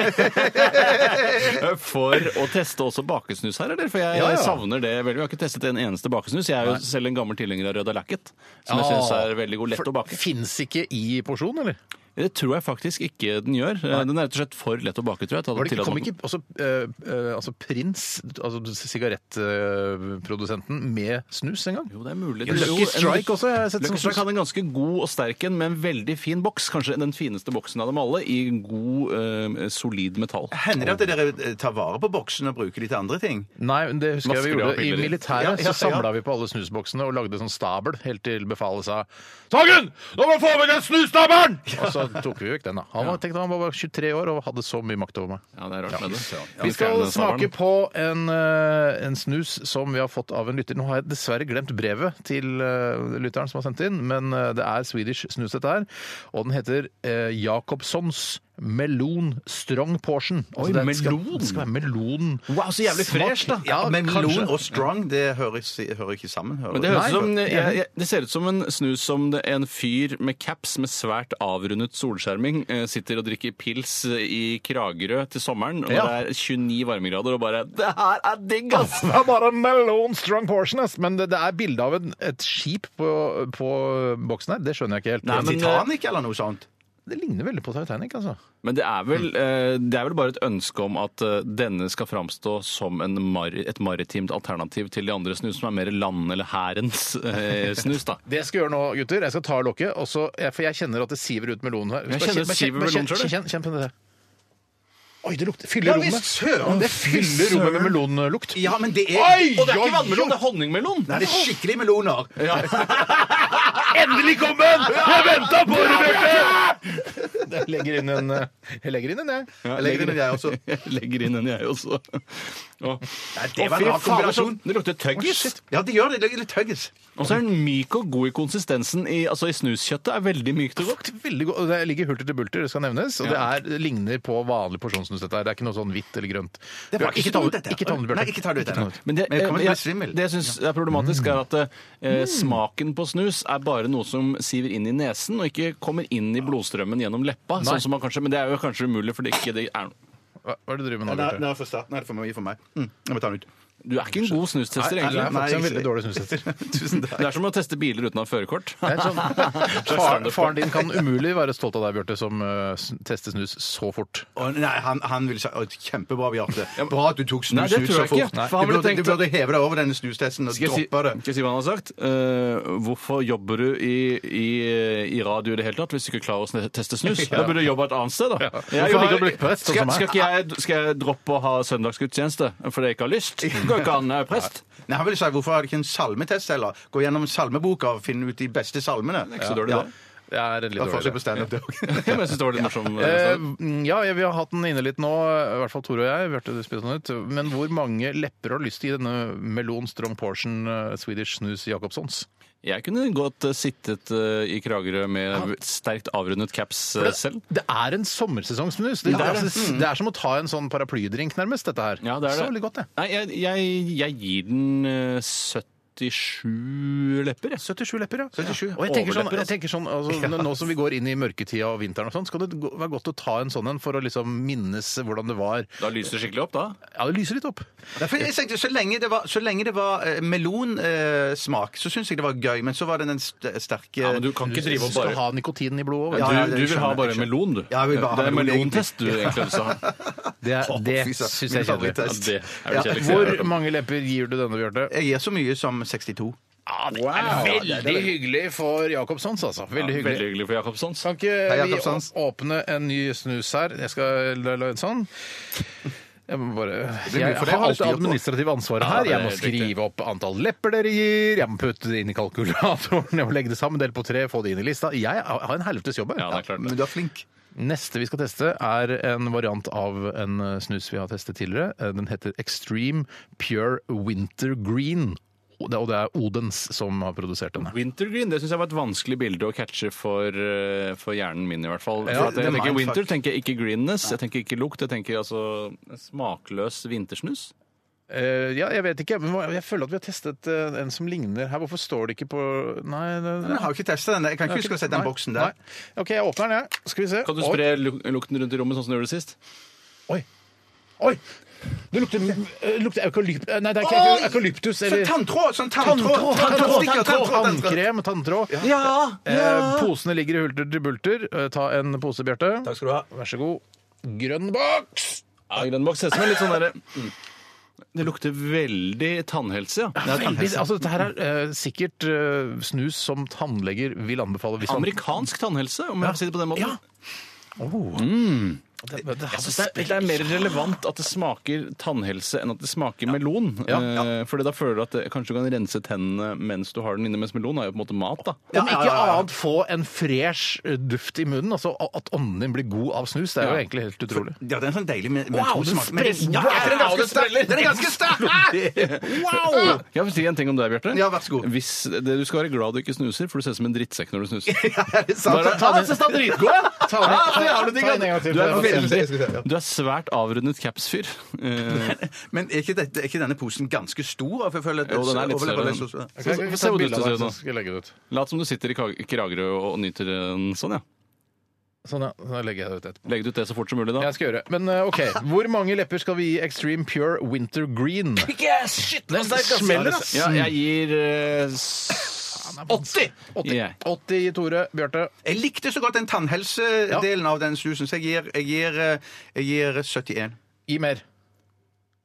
for å teste også bakesnus her, eller? For jeg Ja, ja. savner det veldig. Vi har ikke testet en eneste bakesnus. Jeg er jo selv en gammel tilhenger av Røda Lacket, som jeg Ah, syns er veldig god. Lett for- å bake. Fins ikke i porsjon, eller? Det tror jeg faktisk ikke den gjør. Eh, Den er rett og slett for lett å bake, tror jeg. til at Var det ikke, tillater kom den. ikke også, eh, eh, altså Prins, altså sigarettprodusenten, med snus en gang? Jo, det er mulig. Lucky Jo, en- Strike også, jeg har sett Lucky som Strike snus. hadde en ganske god og sterk en, med en veldig fin boks. Kanskje den fineste boksen av dem alle, i god, eh, solid metall. Hender det at dere eh, tar vare på boksen og bruker de til andre ting? Nei, men det husker jeg vi Masker og gjorde. I piller. militæret Ja, ja, ja. så samla vi på alle snusboksene og lagde sånn stabel, helt til befalet sa Sagen! Nå må du få vekk den snusstabelen! Og så tok vi vekk den, da. Han var, tenkte han var bare 23 år og hadde så mye makt over meg. Ja, det er rart med det. Vi skal smake på en, eh, en snus som vi har fått av en lytter. Nå har jeg dessverre glemt brevet til eh, lytteren som har sendt inn, men eh, det er Swedish snus dette her. Og den heter eh, Jacobsons Melon Strong Portion. Altså, Oi, det er- melon! Skal, det skal være melon. Wow, så jævlig Smak. fresh, da. Ja, men kanskje. melon og strong, det hører, ikke- hører ikke sammen. Hører. Men det, høres Nei, ut som, men- jeg, jeg, det ser ut som en snus som det, en fyr med caps med svært avrundet solskjerming eh, sitter og drikker pils eh, i Kragerø til sommeren, og Ja. det er 29 varmegrader, og bare Det her er digg, ass! Det er bare en melon strong portion, ass. Men det, det er bilde av en, et skip på, på boksen her. Det skjønner jeg ikke helt. Nei, men- Titanic eller noe sånt? Det ligner veldig på Titanic, altså. Men det er vel, eh, det er vel bare et ønske om at eh, denne skal framstå som en mar et maritimt alternativ til de andre snus, som er mer land- eller hærens eh, snus, da. Det jeg skal gjøre nå, gutter, jeg skal ta lokket, og så, jeg- for jeg kjenner at det siver ut melonen her. Jeg kjenner det siver melonen selv, jeg. Kjenn, kjenn på det. der. Oi, det lukter Fyller rommet. visst søren. Det fyller rommet med melonlukt. Ja, men det er Oi! Og det er ikke vannmelon, det er honningmelon! Nei, det er skikkelig meloner. Endelig kom den! Jeg venta på det, Bjarte! Jeg legger inn en, eh, jeg. legger inn en, jeg. Ja, Jeg legger den, jeg også. Jeg legger inn en, jeg også. Å, Nei, det var fy en fader, rar kombinasjon. så- Det lukter tøggis. Ja, det gjør det. Det er litt tøggis. Og så er den myk og god i konsistensen. I, altså i Snuskjøttet er veldig mykt og godt. Lukter veldig godt. Og Det ligger hulter til bulter, det skal nevnes. Og det, Ja. er, det ligner på vanlig porsjonsnus, dette her. Det er ikke noe sånn hvitt eller grønt. Det var Bjarte, ikke ta dumt, det- dette. ikke ta det, Bjarte. Nei, ikke ta det ut ennå. Men det, Men jeg kommer til å bli jeg, svimmel. Mm. det jeg syns er problematisk, er at eh, smaken på snus er bare noe som siver inn i nesen, og ikke kommer inn i blodstrømmen gjennom leppa. Sånn som man kanskje, men det er jo kanskje umulig, for det ikke det er noe Hva hva er det du driver med nå, Nei, Bjarte? nei, for sterkt. Nei, det er for mye for meg. Mm, jeg må ta den ut. Du er ikke en god snustester, Du er egentlig. faktisk en Nei, jeg- veldig dårlig snustester. Tusen takk. Det er som å teste biler uten å ha førerkort. Det er sånn, faren, faren din kan umulig være stolt av deg, Bjarte, som eh, s- tester snus så fort. Å, nei, han, han vil si å, Kjempebra, Bjarte. Bra at du tok snus Nei, det ut tror så jeg ikke. fort. Nei. Du, burde, du burde heve deg over denne snustesten og Skal jeg, si, droppe det. skal jeg si hva han har sagt? Eh, hvorfor jobber du i, i, i radio i det hele tatt hvis du ikke klarer å sn- teste snus? Da burde du jobbe et annet sted, da. Jeg Hvorfor har- ligger du og blikker på det, sånn skal, som meg? skal, ikke jeg, skal jeg droppe å ha søndagsgudstjeneste fordi jeg ikke har lyst? Går ikke an, jeg er prest. Nei, han ville si, Hvorfor har du ikke en salmetest heller? Gå gjennom salmeboka og finne ut de beste salmene. Ikke så dårlig, Ja. det. Det er en litt Det var dårlig forsøk på standup, det òg. Men jeg syns det var litt morsomt. Eh, ja, vi har hatt den inne litt nå, i hvert fall Tore og jeg. Bjarte, du spiste den ut. Men hvor mange lepper har lyst til i denne melon strong portion eh, Swedish snus Jacobsons? jeg kunne godt eh, sittet eh, i Kragerø med sterkt avrundet caps eh, selv. Det er en sommersesongsnus. Det, det, er, altså- det er som å ta en sånn paraplydrink, nærmest, dette her. Ja, det er Så det. veldig godt, det. Nei, jeg, jeg, jeg gir den eh, 70 77 lepper. Jeg. 77 lepper, ja. 77, Og jeg tenker sånn, overlepper, jeg tenker sånn altså, nå- Nå som vi går inn i mørketida og vinteren, og sånn, skal det gå- være godt å ta en sånn en for å liksom minnes hvordan det var. Da lyser det skikkelig opp, da. Ja, det lyser litt opp. Derfor, jeg tenkte, så lenge det var, så lenge det var eh, melonsmak, så syns jeg det var gøy. Men så var det den st sterke Ja, men du kan ikke drive og skal bare ha nikotinen i blodet Ja, òg. ja, Du, det du vil ha skjønner jeg, bare jeg skjønner. melon, du. Ja, jeg vil bare ha det er melon, egentlig. melontest du egentlig vil ha. Det, er- det Å, fy søren. syns jeg er Min kjedelig. favorittest. Ja, det er jo kjedelig. Hvor mange lepper gir du denne, Bjarte? Jeg gir så mye som 62. Veldig hyggelig for Jacobsons, altså. Veldig Veldig hyggelig. hyggelig for sånn Jacobsons. Kan ikke Hei, Eh, vi Jacobsons. å- åpne en ny snus her? Jeg skal la la en sånn. Jeg, må bare, mye jeg for har det. Alltid det gjort, da. administrative ansvaret Ja, her. det er Jeg må helt riktig. skrive opp antall lepper dere gir, jeg må putte det inn i kalkulatoren, jeg må legge det sammen, dele på tre, få det inn i lista. Jeg har en helvetes jobb Ja, her. det er klart Men det. du er flink. Neste vi skal teste, er en variant av en eh, snus vi har testet tidligere. Eh, Den heter Extreme Pure Winter Green. Og det og det er Odens som har produsert denne. Wintergreen det synes jeg var et vanskelig bilde å catche for, eh, for hjernen min, i hvert fall. Ja, For at jeg det er tenker mindfuck. winter, tenker jeg ikke greenness, jeg tenker ikke lukt. Jeg tenker altså smakløs vintersnus. Eh, ja, jeg vet ikke. Men hva- jeg føler at vi har testet eh, en som ligner her. Hvorfor står det ikke på Nei, det, Men jeg har jo ikke testa den. Jeg kan ikke huske å ha sett den Nei, boksen der. Nei. OK, jeg åpner den, jeg. Skal vi se. Kan du spre lu- lukten rundt i rommet sånn som du gjorde sist? Oi. Oi. Oi. Det lukter, eh, lukter eukalypt... Nei, det er ikke eukaly- eukalyptus. Sånn Eller tanntråd! Sånn tanntråd! Tannstikker, tanntråd, tanntråd. Tannkrem, tanntråd. Ja! Eh, posene ligger i hulter til bulter. Eh, ta en pose, Bjarte. Takk skal du ha. Vær så god. Grønn boks! grønn boks. Det ser ut som en litt sånn derre Det lukter veldig tannhelse, ja. Veldig, altså, dette her er eh, sikkert eh, snus som tannleger vil anbefale. Hvis man- Amerikansk tannhelse, om jeg får si det på den måten. Ja. Oh. Det, det, det, Jeg synes Altså, det, er, det er mer relevant at det smaker tannhelse enn at det smaker melon. Ja, Eh, Fordi da føler du at det, kanskje du kan rense tennene mens du har den inne, mens melon er jo på en måte mat, da. Om ikke annet få en fresh eh, duft i munnen, altså a- at ånden din blir god av snus, det er jo Ja. egentlig helt utrolig. Ja, den er sånn deilig med, med Wow, to den smak- men det- spreller. Ja, er den Wow, ganske den sterk! Den er ganske sterk! Wow! Jeg vil si en ting om deg, Bjarte. Ja, vær så god. Hvis det, du skal være glad du ikke snuser, for du ser ut som en drittsekk når du snuser. Ja, er det sant? Ta den- Ta den- ta den en gang til. Du er, Det er Jeg skal se, veldig, ja. du er svært avrundet caps-fyr. Eh, Men er ikke, dette, er ikke denne posen ganske stor? For jeg føler at Jo, den er litt overleppa større. så- så- Jeg skal Få ikke se ta hvor et bilde duftet av ser deg, ut nå. så skal jeg legge det ut. Lat som du sitter i Kag- Kragerø og nyter den sånn, ja. Sånn, ja. Så legger jeg det ut etterpå. Legg det ut det så fort som mulig, da. Jeg skal gjøre det. Men eh, OK, hvor mange lepper skal vi gi Extreme Pure Winter Green? Den smeller, ass! Ja, jeg gir eh, s- 80! 80, Jeg. 80 i Tore. Bjarte. Jeg likte så godt den tannhelsedelen av den snusen, så jeg gir, jeg gir, eh, jeg gir 71. Gi mer.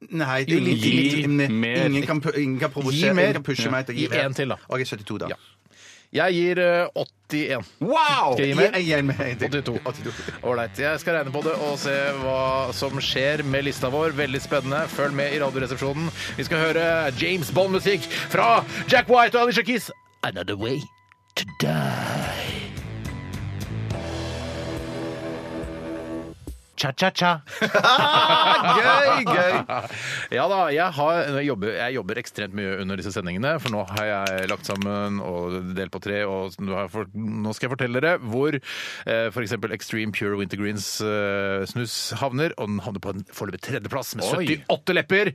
Nei, det er litt, Gi litt, litt- mer. ingen, kan, pu- ingen kan Gi provosere, mer. ingen kan pushe meg til å gi Gi en til, da. Ok, 72, da. Ja. Jeg gir eh, 81. Wow! Skal jeg gi mer? Jeg, jeg gir mer. en til. 82. 82. Ålreit. Jeg skal regne på det og se hva som skjer med lista vår. Veldig spennende. Følg med i Radioresepsjonen. Vi skal høre James Bond-musikk fra Jack White og Alicia Keys. Another way to die. Cha-cha-cha. Gøy, gøy! Ja da, jeg, har, jeg, jobber, jeg jobber ekstremt mye under disse sendingene, for nå har jeg lagt sammen og delt på tre, og nå, har jeg fort- nå skal jeg fortelle dere hvor eh, f.eks. Extreme Pure Winter Greens eh, snus havner, og den havner på en foreløpig tredjeplass med Oi. 78 lepper,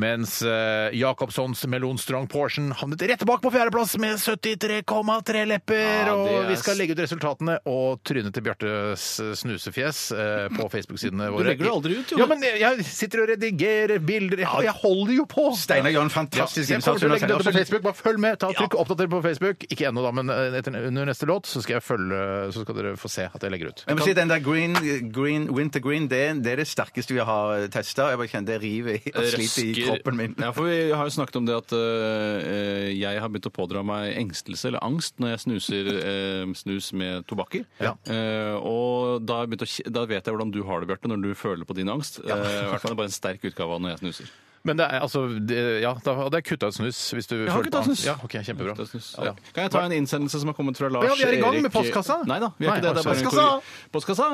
mens eh, Jacobsons Melon Strong Portion havnet rett bak på fjerdeplass med 73,3 lepper, Ja, det og er vi s- skal legge ut resultatene og trynet til Bjartes snusefjes eh, på Facebook-sidene våre. legger det aldri ut, jo. Ja, men jeg- jeg sitter og redigerer bilder. Jeg, jeg holder jo på! Steinar gjør en fantastisk Ja, jeg kommer innsats. til å legge under dette på sendingen. Facebook. Bare følg med. ta trykk og Oppdater på Facebook. Ikke ennå, da, men eh, etter, under neste låt så skal, jeg følge, så skal dere få se at jeg legger ut. Jeg må si Den der green, green, winter green, det, er- det er det sterkeste vi har testa. Jeg bare kjenner det river i- og sliter i røsker. kroppen min. Eh, Ja, for vi har jo snakket om det at eh, jeg har begynt å pådra meg engstelse eller angst når jeg snuser eh, snus med tobakker. Ja. Eh, og da, har jeg begynt å, kje- da vet jeg hvordan du har det, Bjarte, når du føler på din angst. Eh, I hvert fall er det bare en sterk utgave av når jeg snuser. Men det er altså det, Ja, da hadde jeg kutta ut snus. Hvis du Jeg har følte kuttet angst. snus. Ja, ok, Kjempebra. Kuttet snus. Ja. Kan jeg ta en innsendelse som har kommet fra Lars Ja, vi er i gang Erik- med postkassa. Nei da, vi er Nei, ikke det. det er bare en postkassa. korri- postkassa.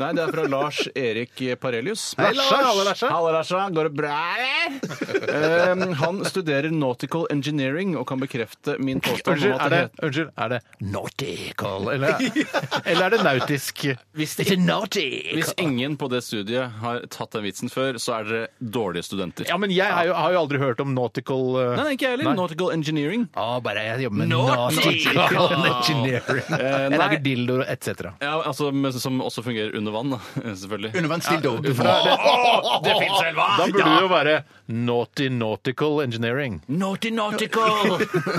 Nei, det er fra Lars Erik Parelius. Hei, Lars. Hallo, Larsa. Hallo, Larsa. Går det bra, eller? um, han studerer nautical engineering og kan bekrefte min påstand Unnskyld, om er at det, det heter unnskyld, er det nautical? Eller, eller er det nautisk? Ikke nautical. hvis ingen på det studiet har tatt den vitsen før, så er dere dårlige studenter. Ja, men men jeg har jo, har jo aldri hørt om nautical eh, Nei, nei, ikke jeg heller. Nautical engineering. Ah, bare jeg jobber med Eh, Naughty! nautical engineering. Jeg lager dildoer etc. Ja, altså, men Som også fungerer under vann, da. selvfølgelig. Undervannsdildo. Ja, for det- Det fins vel, hva? Da burde det jo være naughty nautical engineering. Naughty nautical!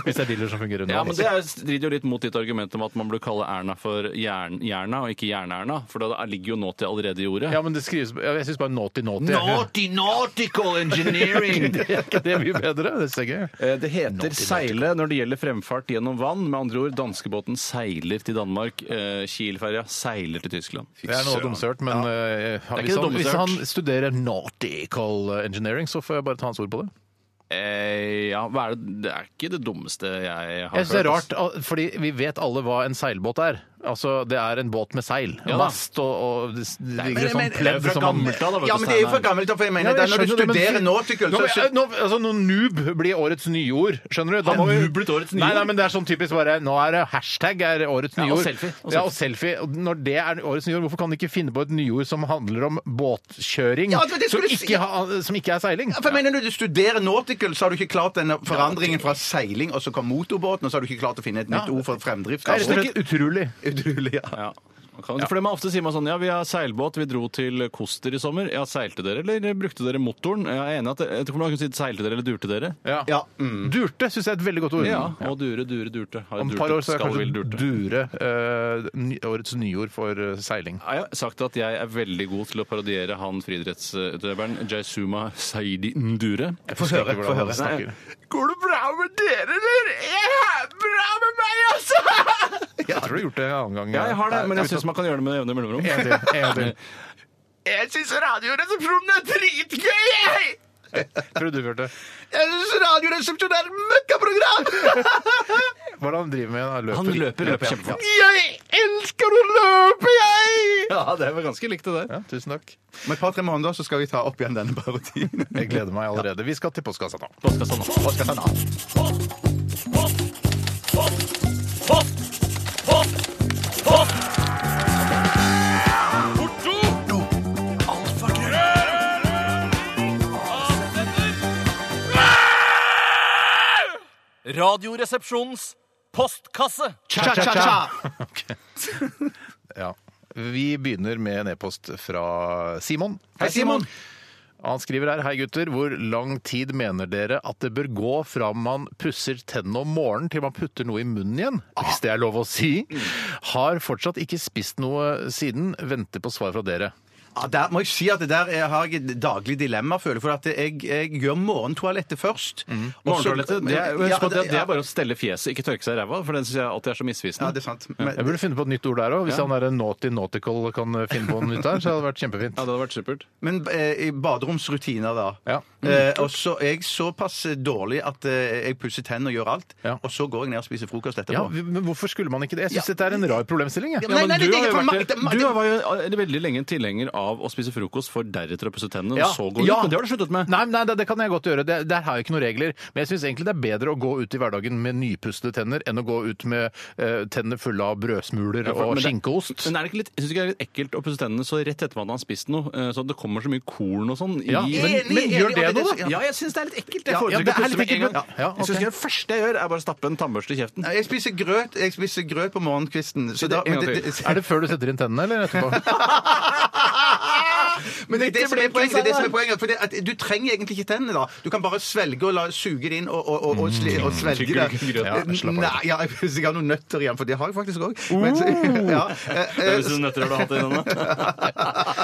Hvis det er dildoer som fungerer under Ja, men vann. Det er- strider jo litt mot ditt argument om at man burde kalle Erna for Jern- Jerna, og ikke Jernerna. For da ligger jo naughty allerede i ordet. Ja, men det skrives Jeg syns bare naughty naughty. Naughty nautical engineering! Det er ikke det mye bedre. Det er gøy. Eh, Det heter seile når det gjelder fremfart gjennom vann. Med andre ord, danskebåten seiler til Danmark. eh, Kielferja seiler til Tyskland. Det er noe dumsørt, men eh, er hvis, ikke han, hvis dumsørt. han studerer nautical eh, engineering, så får jeg bare ta hans ord på det. Eh, ja, hva er det? det er ikke det dummeste jeg har Jeg synes det er hørt, rart, al- fordi vi vet alle hva en seilbåt er. Altså, det er en båt med seil. Ja da. Mast og, og det s- det ligger liksom sånn pledd fra som man gammelt av, da, vet Ja, du, men det er jo fra Steinar. gammelt av, for jeg Ja, mener jeg det er når du skjønner det, men studerer fy- nautical, Nå, så men, skjønner nå, altså, nå, Noob blir årets nyord, skjønner du? Da Har må vi- noob blitt årets Nei, nyord? nei, men det er sånn typisk bare Nå er det hashtag er årets Ja, og nyord. selfie, og Ja, og selfie. Og Når det er årets nyord, hvorfor kan de ikke finne på et nyord som handler om båtkjøring, Ja, det- det som, skulle jeg si. ikke ha, som ikke er seiling? Ja, for jeg mener når du studerer nautical, så har du ikke klart den forandringen fra seiling, og så kom motorbåten, og så har du ikke klart å finne et nytt ord for fremdrift. Det er rett og slett utrolig. Utrolig, ja. Ja. Man kan- For det man ofte sier man sånn, ja, vi har seilbåt, vi dro til Koster i sommer. Ja, seilte dere, eller brukte dere motoren? Jeg er enig at, jeg tror man kunne si seilte dere, eller durte dere. Ja. Ja, mm. Durte syns jeg er et veldig godt ord. Ja, og dure, dure, durte. Har Om et durtet, par år så er skal, vil kanskje durte. dure eh, ny, årets nyord for eh, seiling. Jeg har sagt at jeg er veldig god til å parodiere han friidrettsutøveren Jaisuma Saidi Ndure. Få høre. få høre. snakker. Går det bra med dere, eller? Er det bra med meg, altså? Jeg tror du har gjort det en annen gang. Ja, jeg har det, men jeg syns man kan gjøre det med jevne mellomrom. En til. En til. Jeg syns Radioresepsjonen er dritgøy, jeg! Tror du du hørte. Jeg synes Radioresepsjonen er et møkkaprogram! Hva er det han driver med? Han løper. Han løper, løper kjempefort. Jeg elsker å løpe, jeg! Ja, det var ganske likt, det der. Ja, tusen takk. Om et par-tre måneder så skal vi ta opp igjen denne parodien. Jeg gleder meg allerede. Vi skal til postkassa nå. Postkassa nå. Radioresepsjonens postkasse. Ja. Vi begynner med en e-post fra Simon. Hei, Simon. Han skriver her Hei gutter, hvor lang tid mener dere at det bør gå fra man pusser tennene om morgenen til man putter noe i munnen igjen? Hvis det er lov å si. Har fortsatt ikke spist noe siden. Venter på svar fra dere. Ja, der må jeg si at det der er, har jeg et daglig dilemma, føler jeg. For at jeg, jeg gjør morgentoalettet først. Mm. Mhm. Morgentoalettet, det, er- husk på at det, det er bare å stelle fjeset, ikke tørke seg i ræva, for den syns jeg alltid er så misvisende. Ja, det er sant. Men, Jeg burde finne på et nytt ord der òg. Hvis han er en naughty nautical kan finne på noe nytt der, så hadde det vært Ja, kjempefint. det hadde vært supert. Men eh, i baderomsrutiner, da. Ja. Eh, Mm. og så er jeg såpass dårlig at eh, jeg pusser tennene og gjør alt, Ja. og så går jeg ned og spiser frokost etterpå. Ja, men hvorfor skulle man ikke det? Jeg syns dette er en rar problemstilling. Jeg. Ja, men- Nei, nei, du det er har jo for vært, ma- det- du var jo eh, veldig lenge en tilhenger av å spise frokost for deretter å pusse tennene, og så gå ut. Ja. Men det har du sluttet med. Nei, nei det, det kan jeg godt gjøre. Det, der har jeg ikke noen regler. Men jeg syns egentlig det er bedre å gå ut i hverdagen med nypustede tenner enn å gå ut med eh, tenner fulle av brødsmuler Ja, for- og men det- skinkeost. Men er det ikke litt, jeg synes ikke det er litt ekkelt å pusse tennene så rett etter at man har spist noe, eh, så det kommer så mye korn og sånn i Ja, men, men, men gjør det nå, da! ja, jeg syns det er litt ekkelt. Ja, Jeg ja, foretrekker det er å pusse litt med en gang. ekkelt, ja. Ja, Jeg ok. synes Eh, ikke det første jeg gjør, er bare å stappe en tannbørste i kjeften. Nei, Jeg spiser grøt jeg spiser grøt på morgenkvisten. Så da, en gang Er det før du setter inn tennene, eller etterpå? men det, er det, som er poenget, det er det som er poenget. For det, at du trenger egentlig ikke tennene. da Du kan bare svelge og la, suge det inn og, og, og, og, sli, og svelge Tygger det. Mm. du ikke grøt? Ja, Nei, ja, jeg, hvis jeg har noen nøtter igjen, for det har jeg faktisk òg. Ja, eh, Uh! Det er sånn- eh, hvis du nøtter har du hatt i denne.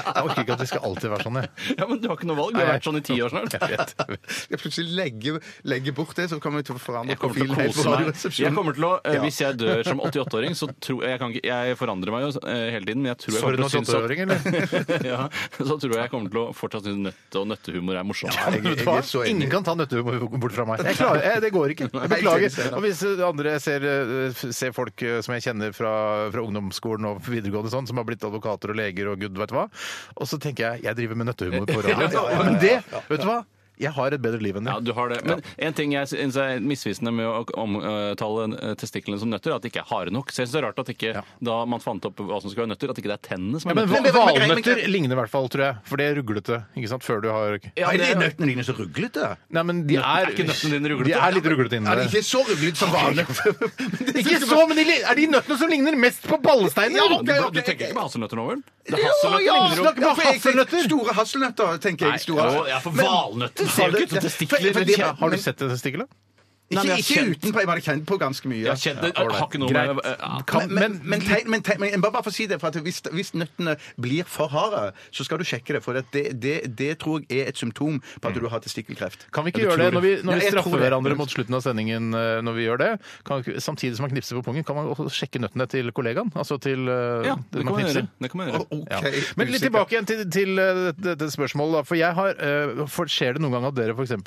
Jeg orker ikke at det skal alltid være sånn, jeg. Ja, men du har ikke noe valg. Du har vært sånn i ti år snart. Jeg vet. jeg vet. eh, jeg plutselig legger, legger bort det, så kommer vi til å forandre Jeg kommer til å profilen helt på kose meg. radioresepsjonen. Jeg kommer til å, eh, Ja. Hvis jeg dør som 88-åring, så tror jeg jeg, kan ikke, jeg forandrer meg jo eh, hele tiden, men jeg tror jeg Sorry, kommer til å synes at- sånn- 88-åring, eller? ja, så tror jeg jeg kommer til å fortsatt synes nøtte og nøttehumor er morsomt. Jeg- jeg er så enig. Ingen kan ta nøttehumor bort fra meg. Jeg klarer, jeg, det går ikke. Jeg beklager. Og hvis andre ser, eh, ser folk som jeg kjenner fra, fra ungdomsskolen og videregående sånn, som har blitt advokater og leger og gud vet hva, og så tenker jeg jeg driver med nøttehumor på radio. Men det, vet du hva? jeg har et bedre liv enn det. Ja, du har det. Men en ting jeg synes er misvisende med å omtale eh, testiklene som nøtter, er at de ikke er harde nok. Så jeg synes det er rart at ikke, da man fant opp hva som skulle være nøtter, at ikke det er tennene som Ja, er men nøtter. men- men- men- Valnøtter ligner i hvert fall, tror jeg. For det er ruglete. ikke sant, før du har... Ja, Er det, de nøttene dine så ruglete? Nei, men de Nøttene- er, er ikke nøttene dine ruglete? De er litt ruglete inni Er de der. ikke så ruglete som valnøtter? Men det- Ikke så, men de, li- er de nøttene som ligner mest på ballesteinen? Ja, du, ok, ok, du tenker ikke på hasselnøtter nå, vel? Det er Jo, hasselnøtter ja, altså, ligner jo snakk- bare for jeg- hasselnøtter. Store hasselnøtter, tenker jeg. Store Å, ja, for valnøtter ser jo ikke ut som testikler. For- for de- Ja, har du sett det testiklet? Nei, men jeg har Ikke, ikke kjent- utenpå, jeg bare kjent på ganske mye. Jeg kjenner, jeg har ikke noe Greit. med eh, Kan, Men, men, men tegn- men, tegn- men bare, bare for å si det, for at hvis, hvis nøttene blir for harde, så skal du sjekke det. For at det, det, det tror jeg er et symptom på at du har testikkelkreft. Mm. Kan vi ikke Ja, du gjøre det tror når vi, Ja, når vi jeg tror straffer det. hverandre mot slutten av sendingen? eh, når vi gjør det? Kan, vi ikke- samtidig som man knipser på pungen, kan man også sjekke nøttene til kollegaen? Altså til eh, Ja, det den man kan man gjøre. knipser? Det kan man Å, gjøre. ok, Ja. Men usikker. litt tilbake igjen til, til eh, dette spørsmålet. da, For jeg har, eh, for skjer det noen gang at dere f.eks.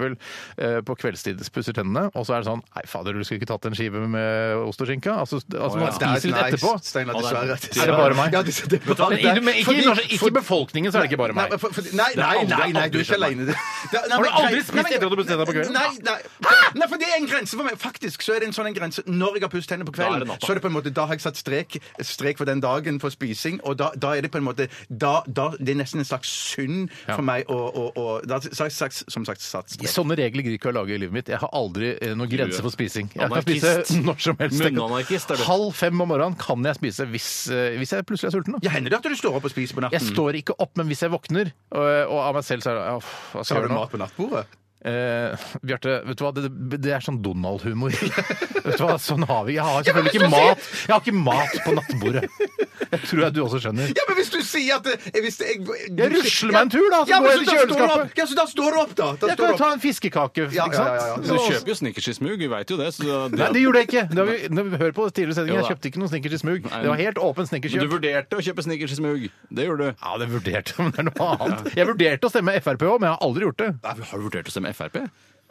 på kveldstid pusser tennene, og så er det sånn Nei, fader, du skulle ikke tatt en skive med ost og skinke? Altså, altså man Det er spiser litt nice, etterpå. Steinar, Å, det er- dessverre. Er det bare meg? Ja, det, det er hva, bare i- deg. Men ikke, Fordi- ikke, ikke i befolkningen, så er det ikke bare Nei, meg. for- for- nei, nei, aldri- nei, nei, du er aldri ikke skjedd meg. aleine. Har du aldri spist etter at du bestemte deg på kvelden? Nei, nei, nei, for det er en grense for meg. Faktisk så er det en sånn en grense. Når jeg har pusset tennene på Da er det kvelden, natta. så er det på en måte, da har jeg satt strek, strek for den dagen for spising, og da, da er det på en måte da, da, Det er nesten en slags synd for meg å, å, å da, har jeg sagt, Som sagt, satt strek. Sånne regler gidder ikke å lage i livet mitt. Jeg har aldri eh, noen grense for spising. Jeg kan spise Anarkist. når som helst. Munnanarkist er du. Halv fem om morgenen kan jeg spise hvis, eh, hvis jeg plutselig er sulten. Da. Ja, Mm. hender det at du står opp og spiser på natten? Jeg står ikke opp, men hvis jeg våkner, og, og av meg selv så er det ja, pff, Hva så skal har jeg du gjøre nå? mat på nattbordet? Eh, Bjarte, vet du hva? Det, det er sånn Donald-humor. vet du hva? Sånn har vi. Jeg har selvfølgelig ikke mat Jeg har ikke mat på nattbordet. Jeg tror jeg du også skjønner. Ja, men hvis du sier at eh, hvis jeg, Jeg rusler meg en tur, da, så går jeg til men da står du kjøleskapet. opp. Ja, så da står du opp, da. da Jeg står kan du jo opp. ta en fiskekake, Ja, ikke ja, ja, ja. sant? Du kjøper jo Snickers i smug, vi veit jo det. Så det, Nei, det gjorde jeg ikke. Det har vi, når vi hører på tidligere sendinger, Jo Jeg da. kjøpte ikke noen snickers i smug. Nei, Det var helt åpen Men du snickerskjøp. vurderte å kjøpe Snickers i smug. Det gjorde du. Ja, det vurderte, men det er noe annet. Jeg vurderte å stemme Frp òg, men jeg har aldri gjort det. Har du vurdert å stemme Frp?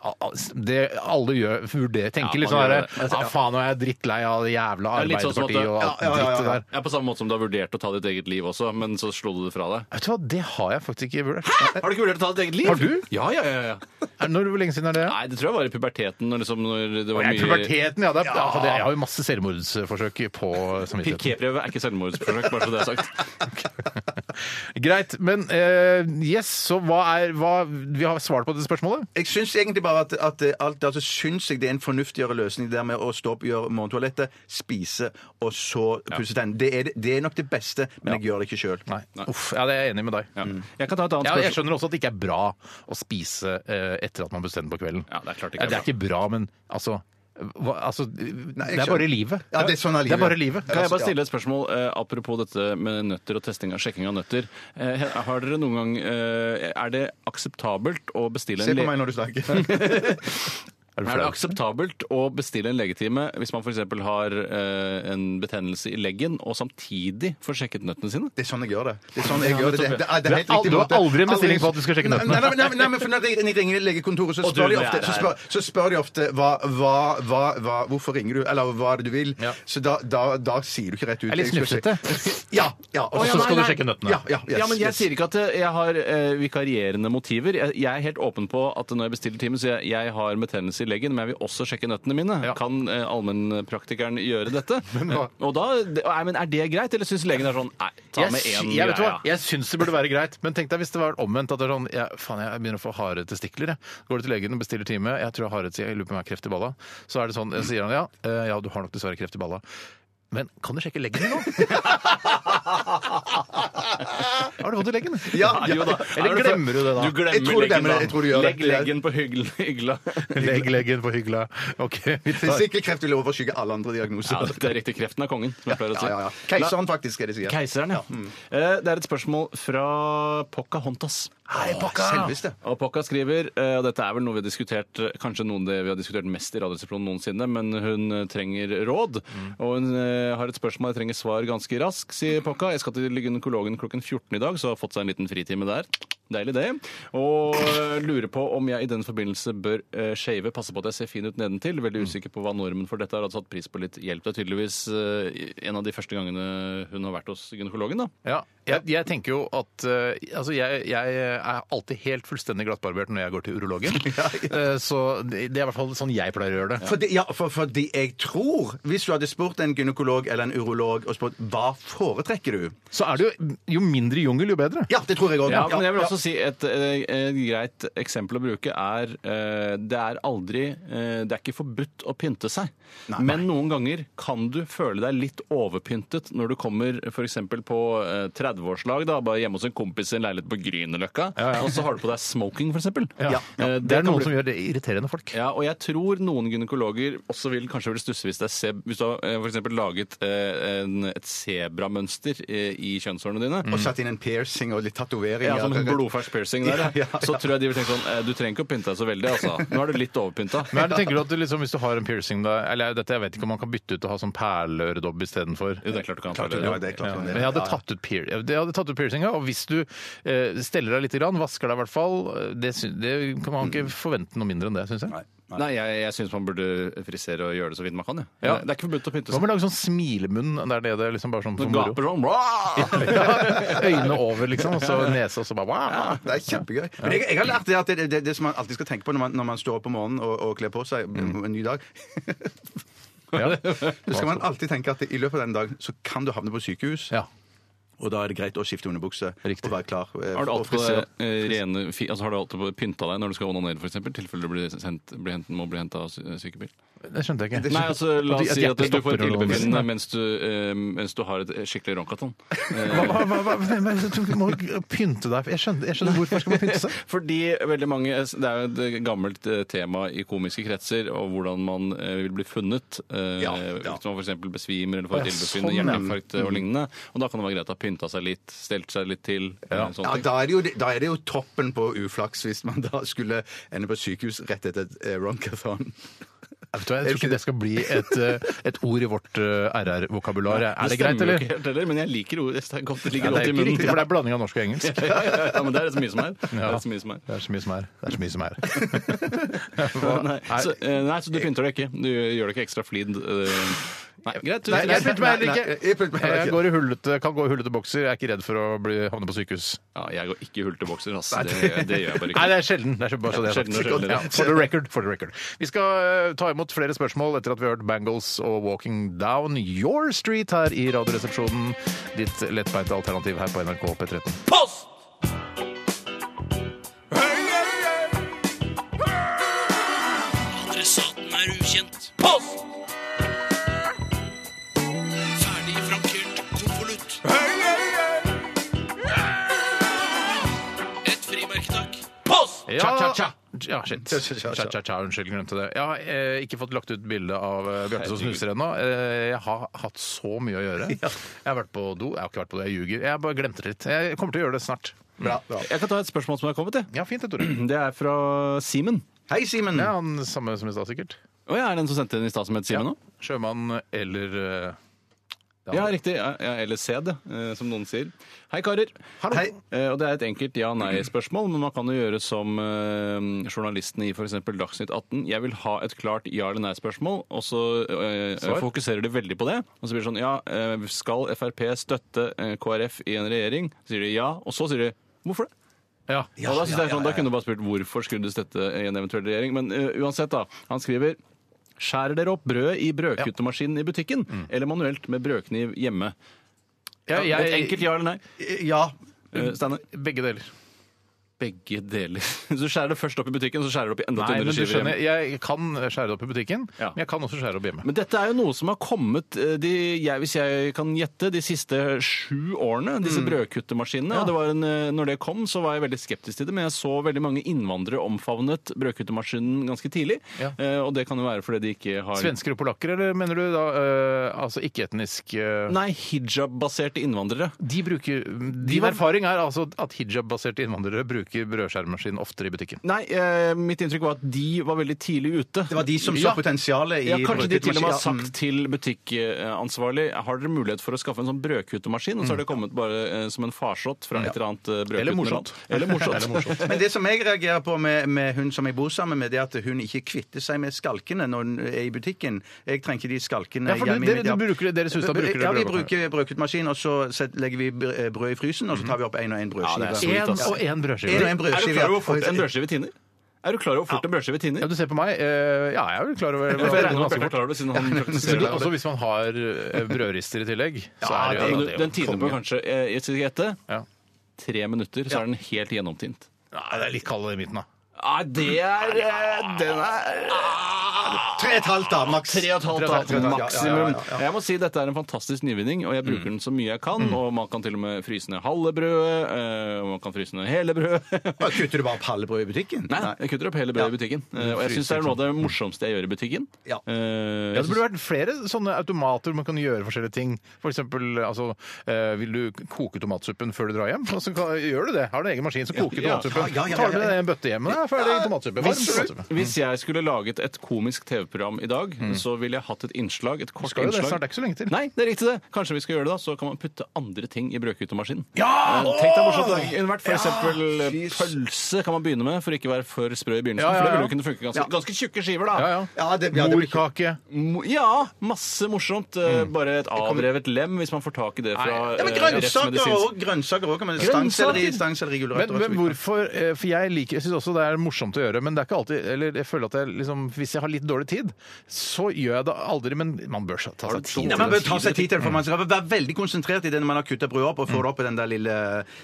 Al- al- Det alle gjør, vurderer, tenker Ja, litt man sånn herre gjør det. Ja, faen, nå er jeg drittlei av det jævla Ja, litt sånn som at Arbeiderpartiet det- og alt ja, ja, ja, drittet ja. der. Ja, På samme måte som du har vurdert å ta ditt eget liv også, men så slo du det fra deg. Vet du hva, det har jeg faktisk ikke vurdert. Har du ikke vurdert å ta ditt eget liv? Har du? Ja, ja, ja. ja. Er, når, hvor lenge siden er det? Nei, det tror jeg var i puberteten. Når, liksom, når det var Jeg er i mye... puberteten, ja. Det er, ja. det, jeg har jo masse selvmordsforsøk på samvittigheten. Piqué-prøve er ikke selvmordsforsøk, bare så det er sagt. Greit. Men eh, yes, så hva er hva, Vi har svart på dette spørsmålet. Jeg syns egentlig bare at, at eh, alt, altså syns jeg det er en fornuftigere løsning det der med å stå opp, gjøre morgentoalettet, spise og så pusse tennene. Det, er det- det er nok det beste, men jeg gjør det ikke sjøl. Nei. Uff. Ja, det er jeg enig med deg. Mm. Ja. Jeg kan ta et annet Ja, jeg spørsmål. skjønner også at det ikke er bra å spise eh, etter at man bestemmer på kvelden. Ja, det er klart det Ja, ikke er det er ikke bra, men altså, hva, altså Det er jeg bare skjønner. livet. Ja, det er sånn er livet. bare livet. Kan jeg bare stille et spørsmål eh, apropos dette med nøtter og testing av sjekking av nøtter? Eh, har dere noen gang eh, Er det akseptabelt å bestille en Se på le- meg når du snakker. Er du Er det flau? akseptabelt å bestille en legetime hvis man f.eks. har eh, en betennelse i leggen, og samtidig får sjekket nøttene sine? Det er sånn jeg gjør det. Det er sånn jeg gjør det. Det, det, er- det er helt Du har al- riktig du har måte. aldri en bestilling på at du skal sjekke Nei, nøttene. Nei, nei, nei, nei, men for når jeg ringer legekontoret, så Og du, spør de det er ofte, så det spør, så spør de ofte hva, hva, hva, hva, Hvorfor ringer du? Eller hva er det du vil? Ja. Så da, da, da sier du ikke rett ut. er litt Jeg skulle snufsete. si- Ja. ja Og Å, ja, så nei, skal du nei. sjekke nøttene. ja, ja, yes, ja, men jeg yes. sier ikke at eh, jeg har eh, vikarierende motiver. Jeg, jeg er helt åpen på at når jeg bestiller time, så jeg, jeg har betennelse i leggen, men jeg vil også sjekke nøttene mine. Ja. Kan eh, allmennpraktikeren gjøre dette? hva- Eh, Og da, det, nei, men er det greit, eller syns legen det er sånn Nei, ta Jeg, med én sy- jeg, vet du hva? jeg syns det burde være greit, men tenk deg hvis det var omvendt. At det er sånn, jeg, faen, jeg begynner å få harde testikler. Jeg. Går du til legen og bestiller time, jeg tror jeg har et, jeg lurer på om jeg har kreft i balla, så er det sånn, jeg sier han ja, eh, ja, du har nok dessverre kreft i balla. Men kan du sjekke leggen din nå? har du vondt i leggen? Ja, Ja, ja. jo da. Eller Er det for- glemmer du det da? Du glemmer Jeg tror du leggen glemmer det. da. Jeg tror du gjør Legg det. leggen på hyggel- hygla. Legg leggen på hyggelig. Ok, vi tar Testikkelkreft vil overskygge alle andre diagnoser. Ja, det er riktig. Kreften er kongen, som jeg pleier å Ja, si. ja, ja. Keiseren, Mm. faktisk, er det sier. Keiseren, ja. Eh, Det er et spørsmål fra Pocahontas. Hei, pakka! Selveste. Og Pocka skriver, eh, og dette er vel noe vi har diskutert eh, kanskje noen det vi har diskutert mest i Radioresepsjonen noensinne, men hun eh, trenger råd. Og hun eh, har et spørsmål jeg trenger svar ganske raskt, sier Pocka. Jeg skal til gynekologen klokken 14 i dag, så har fått seg en liten fritime der. Deilig det. Og eh, lurer på om jeg i den forbindelse bør eh, shave. Passe på at jeg ser fin ut nedentil. Veldig usikker på hva normen for dette er. Hadde satt pris på litt hjelp. Det er tydeligvis eh, en av de første gangene hun har vært hos gynekologen, da. Ja, jeg, jeg tenker jo at eh, Altså, jeg, jeg er alltid helt fullstendig glattbarbert når jeg går til urologen. Eh, så det, det er i hvert fall sånn jeg pleier å gjøre det. Fordi, ja, for, fordi jeg tror Hvis du hadde spurt en gynekolog eller en urolog og spurt hva foretrekker du Så er det jo Jo mindre jungel, jo bedre. Ja, det tror jeg òg. Ja, men jeg vil også si et, eh, et greit eksempel å bruke er eh, Det er aldri eh, Det er ikke forbudt å pynte seg. Men noen ganger kan du føle deg litt overpyntet når du kommer f.eks. på eh, 30-årslag, da, bare hjemme hos en kompis i en leilighet på Grünerløkka, og så har du på deg smoking, f.eks. Ja. Eh, Det er kan noen bli- som gjør det irriterende folk. ja, og jeg tror noen gynekologer også vil kanskje vil stusse hvis, det er seb hvis du har eh, for eksempel laget eh, en, et sebramønster eh, i kjønnshårene Mm. dine. Og satt inn en piercing og litt tatoveringer. Ja, sånn som en blodfersk piercing der. Ja, ja, ja. Så tror jeg de vil tenke sånn eh, Du trenger ikke å pynte deg så veldig, altså. Nå er du litt overpynta. Men er det, tenker du at du liksom, Hvis du har en piercing da, eller dette, Jeg vet ikke om man kan bytte ut og ha sånn perleøredobb istedenfor. Jo, det er klart du kan. Klart du føle kan. det. det er klart Ja, man men gjør. jeg hadde Ja, ja. tatt ut, pier jeg hadde tatt ut piercinga, og hvis du eh, steller deg litt, grann, vasker deg i hvert fall, eh, det, sy- det kan man ikke forvente noe mindre enn det, syns jeg. Nei, jeg, jeg syns man burde frisere og gjøre det så vidt man kan. Ja. Ja. Det er ikke forbudt å pynte Hva seg. med å lage sånn smilemunn der nede, liksom bare sånn Du for moro? gaper sånn «Wah!» Øynene over, liksom, og så nese, og så bare wow. Det er kjempegøy. Men jeg, jeg har lært det at det, det, det som man alltid skal tenke på når man, når man står opp om morgenen og, og kler på seg Mm. en ny dag Ja. Så skal man alltid tenke at i løpet av den dagen så kan du havne på sykehus, Ja. og da er det greit å skifte underbukse Riktig. og være klar. eh, Har du og alltid frisør. eh, rene fi- altså, Har du alltid pynta deg når du skal onanere, f.eks.? I tilfelle du blir sendt, blir hent, må bli henta av sy- sykebil? Det skjønte jeg ikke. Nei, altså la At de- oss at si at hjertet du får stopper et eller noe. illebefinnende mens, du, eh, mens du har et skikkelig ronkaton. Hva- hva- hva- hva- men- men Du må pynte deg Jeg skjønner, jeg skjønner hvorfor skal man pynte seg. Fordi veldig mange, Det er jo et gammelt eh, tema i komiske kretser og hvordan man eh, vil bli funnet. eh, Ja, ja. Hvis man f.eks. besvimer eller får et Ja, ildbefinnende, sånn, ja. hjerteinfarkt eh, og lignende. Og da kan det være greit å ha pynta seg litt, stelt seg litt til. eh, sånne Ja, ting. da er, det jo, da er det jo toppen på uflaks hvis man da skulle ende på sykehus rett etter et eh, ronkathon. Jeg, vet, hva, jeg tror ikke det skal bli et, eh, et ord i vårt eh, RR-vokabular. Er det greit, stemmer jo eller? ikke helt heller, men jeg liker ordet. Det er godt, det Ja, ligger det er godt i ikke munnen. riktig, for det er blanding av norsk og engelsk. ja, men det er så mye som er. Det Ja. er så mye som er. Det er så mye som er. Det er så mye som er. Nei, så, eh, nei, så du pynter deg ikke. Du gjør deg ikke ekstra flid. eh. Nei, greit. Nei, jeg pynter meg Nei, heller nei, ikke. jeg pynter meg heller Jeg ikke. går i hullete, kan gå i hullete bokser. Jeg er ikke redd for å bli, havne på sykehus. Ja, jeg går ikke i hultebokser, ass. Det, det gjør jeg bare ikke. Nei, det er sjelden. Det er bare så det er sagt. Sjelden og sjelden. Ja, for, the record, for the record. Vi skal eh, ta imot flere spørsmål etter at vi har hørt Bangles og Walking Down Your Street her i Radioresepsjonen. Ditt lettbeinte alternativ her på NRK P13. Post! Adressaten er ukjent. Post! Ferdig frankert konvolutt. Et frimerke, takk. Post! Cha-cha-cha. Ja, shit. Cha-cha-cha. Cha-cha-cha, Unnskyld, glemte det. Jeg har eh, ikke fått lagt ut bilde av eh, Bjarte som snuser ennå. Eh, jeg har hatt så mye å gjøre. Jeg har vært på do. Jeg har ikke vært på do, jeg ljuger. Jeg bare glemte det litt. Jeg kommer til å gjøre det snart. Bra, bra. Jeg kan ta et spørsmål som er kommet. Jeg. Ja, fint det, Tore. Det er fra Simen. Hei, Simen! Ja, han samme som i stad, sikkert. Å, ja, er det den som sendte den i stad som het Simen òg? Sjømann eller eh, Ja, riktig. Ja, ja, eller sæd, eh, som noen sier. Hei, karer. Hei. Eh, Og Det er et enkelt ja-nei-spørsmål, men man kan jo gjøre som eh, journalistene i f.eks. Dagsnytt 18. Jeg vil ha et klart ja- eller nei-spørsmål, og så eh, Svar. fokuserer de veldig på det. Og så blir det sånn Ja, eh, skal Frp støtte eh, KrF i en regjering? Så sier de ja, og så sier de hvorfor det? Ja. og da, synes jeg sånn, da kunne du bare spurt hvorfor skulle du støtte i en eventuell regjering. Men eh, uansett, da. Han skriver Skjærer dere opp brødet i brødkuttemaskinen i butikken eller manuelt med brødkniv hjemme? Mm. Ja, jeg, Et enkelt ja eller nei? Ja. Eh, Steinar? Begge deler. Begge deler. Så du skjærer det først opp i butikken, så skjærer du opp i enda Nei, men tynnere du skiver skjønner, hjemme. jeg kan skjære det opp i butikken, Ja. men jeg kan også skjære det opp hjemme. Men dette er jo noe som har kommet, eh, de, jeg, hvis jeg kan gjette, de siste sju årene. Disse Mm. brødkuttemaskinene. Og det var en, eh, når det kom, så var jeg veldig skeptisk til det, men jeg så veldig mange innvandrere omfavnet brødkuttemaskinen ganske tidlig. Ja. Eh, Og det kan jo være fordi de ikke har Svensker og polakker, eller mener du da eh, altså ikke-etnisk eh, Nei, hijab-baserte innvandrere. De bruker, din var- erfaring er altså at hijab-baserte innvandrere bruker brødskjæremaskinen oftere i butikken. Nei, eh, mitt inntrykk var at de var veldig tidlig ute. Det var de som så Ja. potensialet i mm. Ja, kanskje de til og med har brødkuttemaskin. sagt Mm. til butikkansvarlig har dere mulighet for å skaffe en sånn brødkutemaskin, og så har det kommet bare eh, som en farsott fra et eller annet eh, brødkutende Eller morsomt. land. Eller morsomt. Men det som jeg reagerer på med, med hun som jeg bor sammen med, det er at hun ikke kvitter seg med skalkene når hun er i butikken. Jeg trenger ikke de skalkene Ja, for hjemme. i dere- mitt dere hjem. bruker det- deres hus da bruker dere Ja, vi brødbakken. bruker brødkuttmaskin, og så set- legger vi br- eh, brød i frysen, og så tar vi opp én og én brødskive. Ja, det er Én ass. og én En og brødskive. en Er du brødskive. klar over hvor fort en ja. brødskive tiner? Er du klar over hvor fort en brødskive Ja, tiner? du ser på meg. Eh, ja, jeg er jo klar over For jeg regner med at Bjarte klarer det, siden han Så praktiserer det, det. også hvis man har eh, brødrister i tillegg, så Ja, er det men jo du- Den tiner på kanskje eh, jeg skal gjette, Ja. tre minutter, så er den helt gjennomtint. Nei, det er litt kaldere i midten, da. Nei, det er eh, Den er Tre og et halvt, da, maks. Tre og et halvt, Tre og et halvt, ja, ja, da. ja, ja, Maksimum. Jeg må si dette er en fantastisk nyvinning, og jeg bruker den så mye jeg Mm. kan. Og man kan til og med fryse ned halve brødet, eh, og man kan fryse ned hele brødet. Ja, Kutter du bare opp halve brødet i butikken? Nei, jeg kutter opp hele brødet i butikken. Eh, Og jeg syns det er noe av det morsomste jeg gjør i butikken. Ja. Eh, sånn. Ja, jeg det burde vært flere sånne automater hvor man kan gjøre forskjellige ting. For eksempel, altså, eh, vil du koke tomatsuppen før du drar hjem? Og så kan, gjør du det. Har du egen maskin som koker Ja. tomatsuppen. Ja, ja, ja, ja, Tar du ja. med deg en bøtte hjem, og da er ferdig tomatsuppe. Varm tomatsuppe. Hvis jeg skulle laget et komisk TV-program i dag, så ville jeg hatt et innslag. Et kort Mm. Skal jo det innslag. snart, det er ikke så lenge til. Nei, det er riktig det. Kanskje vi skal gjøre det da, så kan man putte andre ting i brødkutemaskinen. Ja! Eh, Tenk deg morsomt det kunne vært. For eksempel eh, pølse kan man begynne med, for ikke å være for sprø i begynnelsen. Ja, ja, For det ja. ville jo kunne funke ganske, ganske tjukke skiver, da. Ja, ja. Ja, det- ja, det blir- Morkake. Mo- ja, masse morsomt. Eh, Bare et avrevet lem, hvis man får tak i det fra Nei. Ja, men eh, grønnsaker rettsmedisinsk- òg. Grønnsaker òg. Grønnsaker? Stangselleri, stangselleri, Men, gulrøtter og så men videre. hvorfor eh, For jeg liker, jeg syns også det er morsomt å gjøre, men det er ikke alltid Eller jeg føler at jeg liksom Hvis jeg har litt dårlig tid, så gjør jeg det aldri, men man bør ta seg tid. Nei, man bør ta seg tid til det, for man skal være veldig konsentrert i det når man har kutta brødet opp og får det opp i den der lille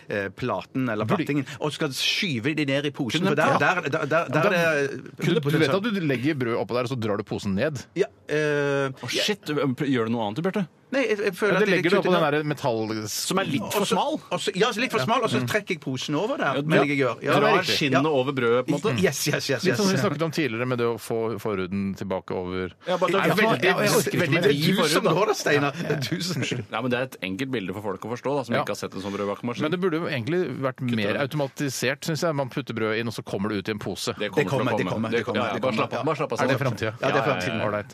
eh, platen eller Burde- plattingen, og skal skyve det ned i posen. Kunne- For der, ja. der, der, der, der er det Du, du vet at du legger brød oppå der, og så drar du posen ned? ja, eh, Å, shit, gjør du noe annet, Bjarte? Nei, jeg, jeg føler Ja, det at jeg legger du oppå kutter den ned. der metall... Som er litt for Også- smal? også- Ja, litt for smal, og Mm. så trekker jeg posen over der. men jeg gjør. Ja, Drar det er riktig. skinnet over brødet, på en måte? Ja. Yes, yes, yes. Litt sånn som yes. vi snakket om tidligere, med det å få forhuden tilbake over Ja, bare- Nei, Ja, veldig- ja, jeg orker ikke veldig mer. Det er vri du som forhud, da. går da, Steinar. Det er du som Nei, men Det er et enkelt bilde for folk å forstå, da, som Ja. ikke har sett en sånn brødbakemaskin. Men det burde jo egentlig vært mer det. automatisert, syns jeg. Man putter brødet inn, og så kommer det ut i en pose. Det kommer, det kommer, det kommer, ja, ja, det bare kommer, slapp av. ja. Bare slapp av Er det Steinar. framtida? Ja, det er fremtiden. Ålreit.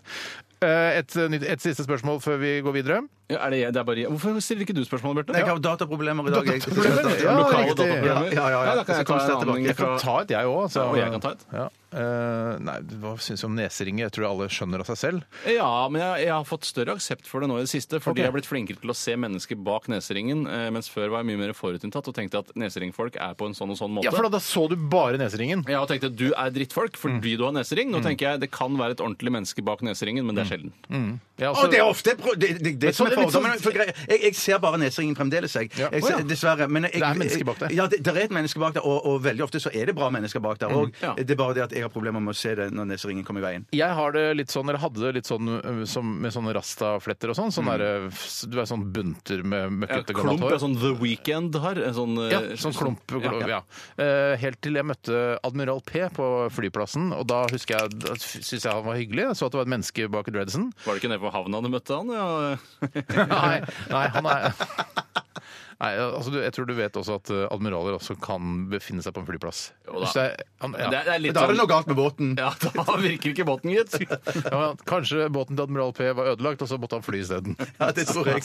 Eh, Et, nytt- et siste spørsmål før vi går videre. Ja, er det, det er bare, hvorfor stiller ikke du spørsmålet, Bjarte? Jeg har dataproblemer i dag. jeg. Dataproblemer? Ja, Lokale riktig. dataprogrammer. Ja, ja, ja. da kan Så jeg ta kommer en det annen tilbake. Jeg kan fra- ta et, jeg òg. Ja, og jeg kan ta et. Ja. Eh, Nei, hva syns du om neseringer? Jeg tror alle skjønner av seg selv. Ja, men jeg, jeg har fått større aksept for det nå i det siste. Fordi Ok. jeg har blitt flinkere til å se mennesker bak neseringen. eh, Mens før var jeg mye mer forutinntatt og tenkte at neseringfolk er på en sånn og sånn måte. Ja, for da, da så du bare neseringen. Jeg har tenkt at du er drittfolk fordi Mm. du har nesering. Nå tenker jeg det kan være et ordentlig menneske bak neseringen, men Mm. det er sjelden. Ja, Å, altså- det er ofte pro- det, det, det, Men som sånn er er litt fordommen. sånn- For greia- jeg, jeg ser bare neseringen fremdeles, jeg. Ja. jeg Å, ja. ser, dessverre. Men jeg, Det er mennesker bak der. Ja, det, det er et menneske bak der, og, og veldig ofte så er det bra mennesker bak der òg. Ja. Det er bare det at jeg har problemer med å se det når neseringen kommer i veien. Jeg har det litt sånn, eller hadde det litt sånn ø, som, med sånne rastafletter og sånn. sånn der, ø, f- du er sånn bunter med Ja, møkkete gammelt klump er hår. sånn The Weekend har. en Sånn, eh, Ja, sånn klump. Ja, Eh, Helt til jeg møtte Admiral P på flyplassen, og da husker jeg, da syntes jeg han var hyggelig. Jeg så at det var et menneske bak dreadsen. Var det ikke nede på havna du møtte han? Ja. Nei, nei, han er Nei, altså, du, jeg tror du vet også at ø, admiraler også kan befinne seg på en flyplass. Jo da. Så jeg- han- ja. Det, er- det er litt Da er det sånn noe galt med båten. ja, da virker ikke båten, gitt. Ja, men kanskje båten til Admiral P var ødelagt, og så måtte han fly isteden. Ja, det tror jeg.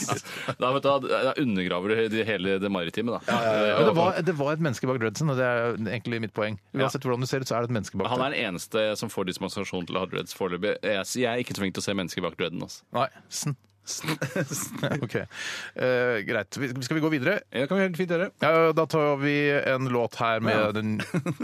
Da, vet du, da da undergraver du det- hele det maritime, da. Eh, Men det var, det var et menneske bak dreadsen, og det er egentlig mitt poeng. Uansett hvordan du ser ut, så er det et menneske bak Han der. er den eneste som får dispensasjon til å ha dreads foreløpig. Jeg, jeg er ikke så flink til å se mennesker bak dreaden. Altså. Nei. Sn. OK. Eh, greit. Vi- Skal vi gå videre? Det kan vi helt fint gjøre. Ja, da tar vi en låt her med Ja. den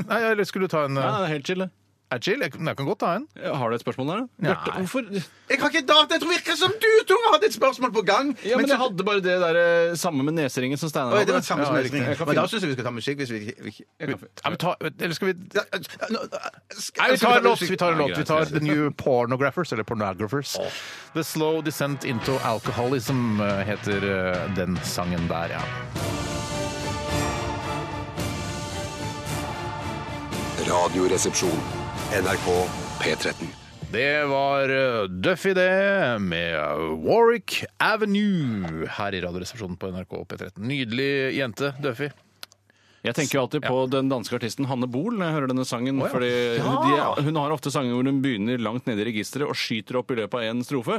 Nei, eller skulle du ta en Nei, uh, nei, det er helt chill. det. Agile? Jeg, nei, jeg kan godt ta en. Ja, Har du et spørsmål der, da? Nei. Bjarte, hvorfor? Jeg har ikke data! Jeg tror virker som du, Tore, hadde et spørsmål på gang. Ja, men så- jeg hadde bare det der, eh, samme med neseringen som Steinar Oi, hadde. det var det samme som Ja, riktig. neseringen. Jeg kan Men da finne- syns jeg vi skal ta musikk. Hvis vi, ikke- vi, ikke- jeg kan finne- Ja, men ta, eller skal vi Nei, Ja, nå- skal- vi skal tar en låt! musikk? Vi tar en Ja, låt. Vi greit, tar greit. The New Pornographers, eller Pornographers. The Slow Descent Into Alcoholism eh, heter eh, den sangen der, ja. Radioresepsjon. NRK P13. Det var eh, Duffy det, med Warwick Avenue her i Radioresepsjonen på NRK P13. Nydelig jente, Duffy. Jeg tenker jo alltid på den danske artisten Hanne Bohl når jeg hører denne sangen. Fordi de, hun har ofte sanger hvor hun begynner langt nede i registeret og skyter opp i løpet av én strofe.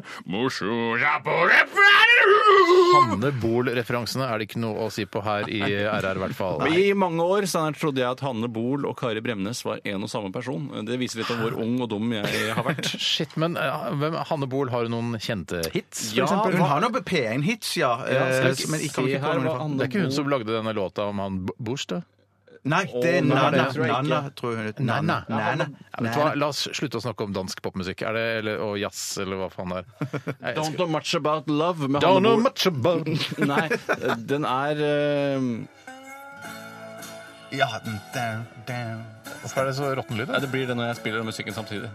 Hanne Bohl-referansene er det ikke noe å si på her i RR, i hvert fall. Men I mange år Steinar, trodde jeg at Hanne Bohl og Kari Bremnes var en og samme person. Det viser litt om hvor ung og dum jeg har vært. Shit, men eh, hvem, Hanne Bohl, har hun noen kjente hits? for Ja, eksempel? Hun har noen P1-hits, ja. eh, skal vi Men jeg kommer se ikke på her noen i hva farten. Hanne Det er ikke hun som lagde denne låta om han B- Bush, da? Nei, det er Å, nei, Nana. det tror jeg ikke. Nana, tror jeg hun heter. Nana. Nana. Ja, vet du hva? La oss slutte å snakke om dansk popmusikk er det, eller, og jazz, eller hva faen det er. Nei, jeg Don't skal- know much about love med Don't Hanne know Bohl. much about Nei, den er eh, Ja, down, down. Hvorfor er det så råtten lyd? Nei, det blir det når jeg spiller den musikken samtidig.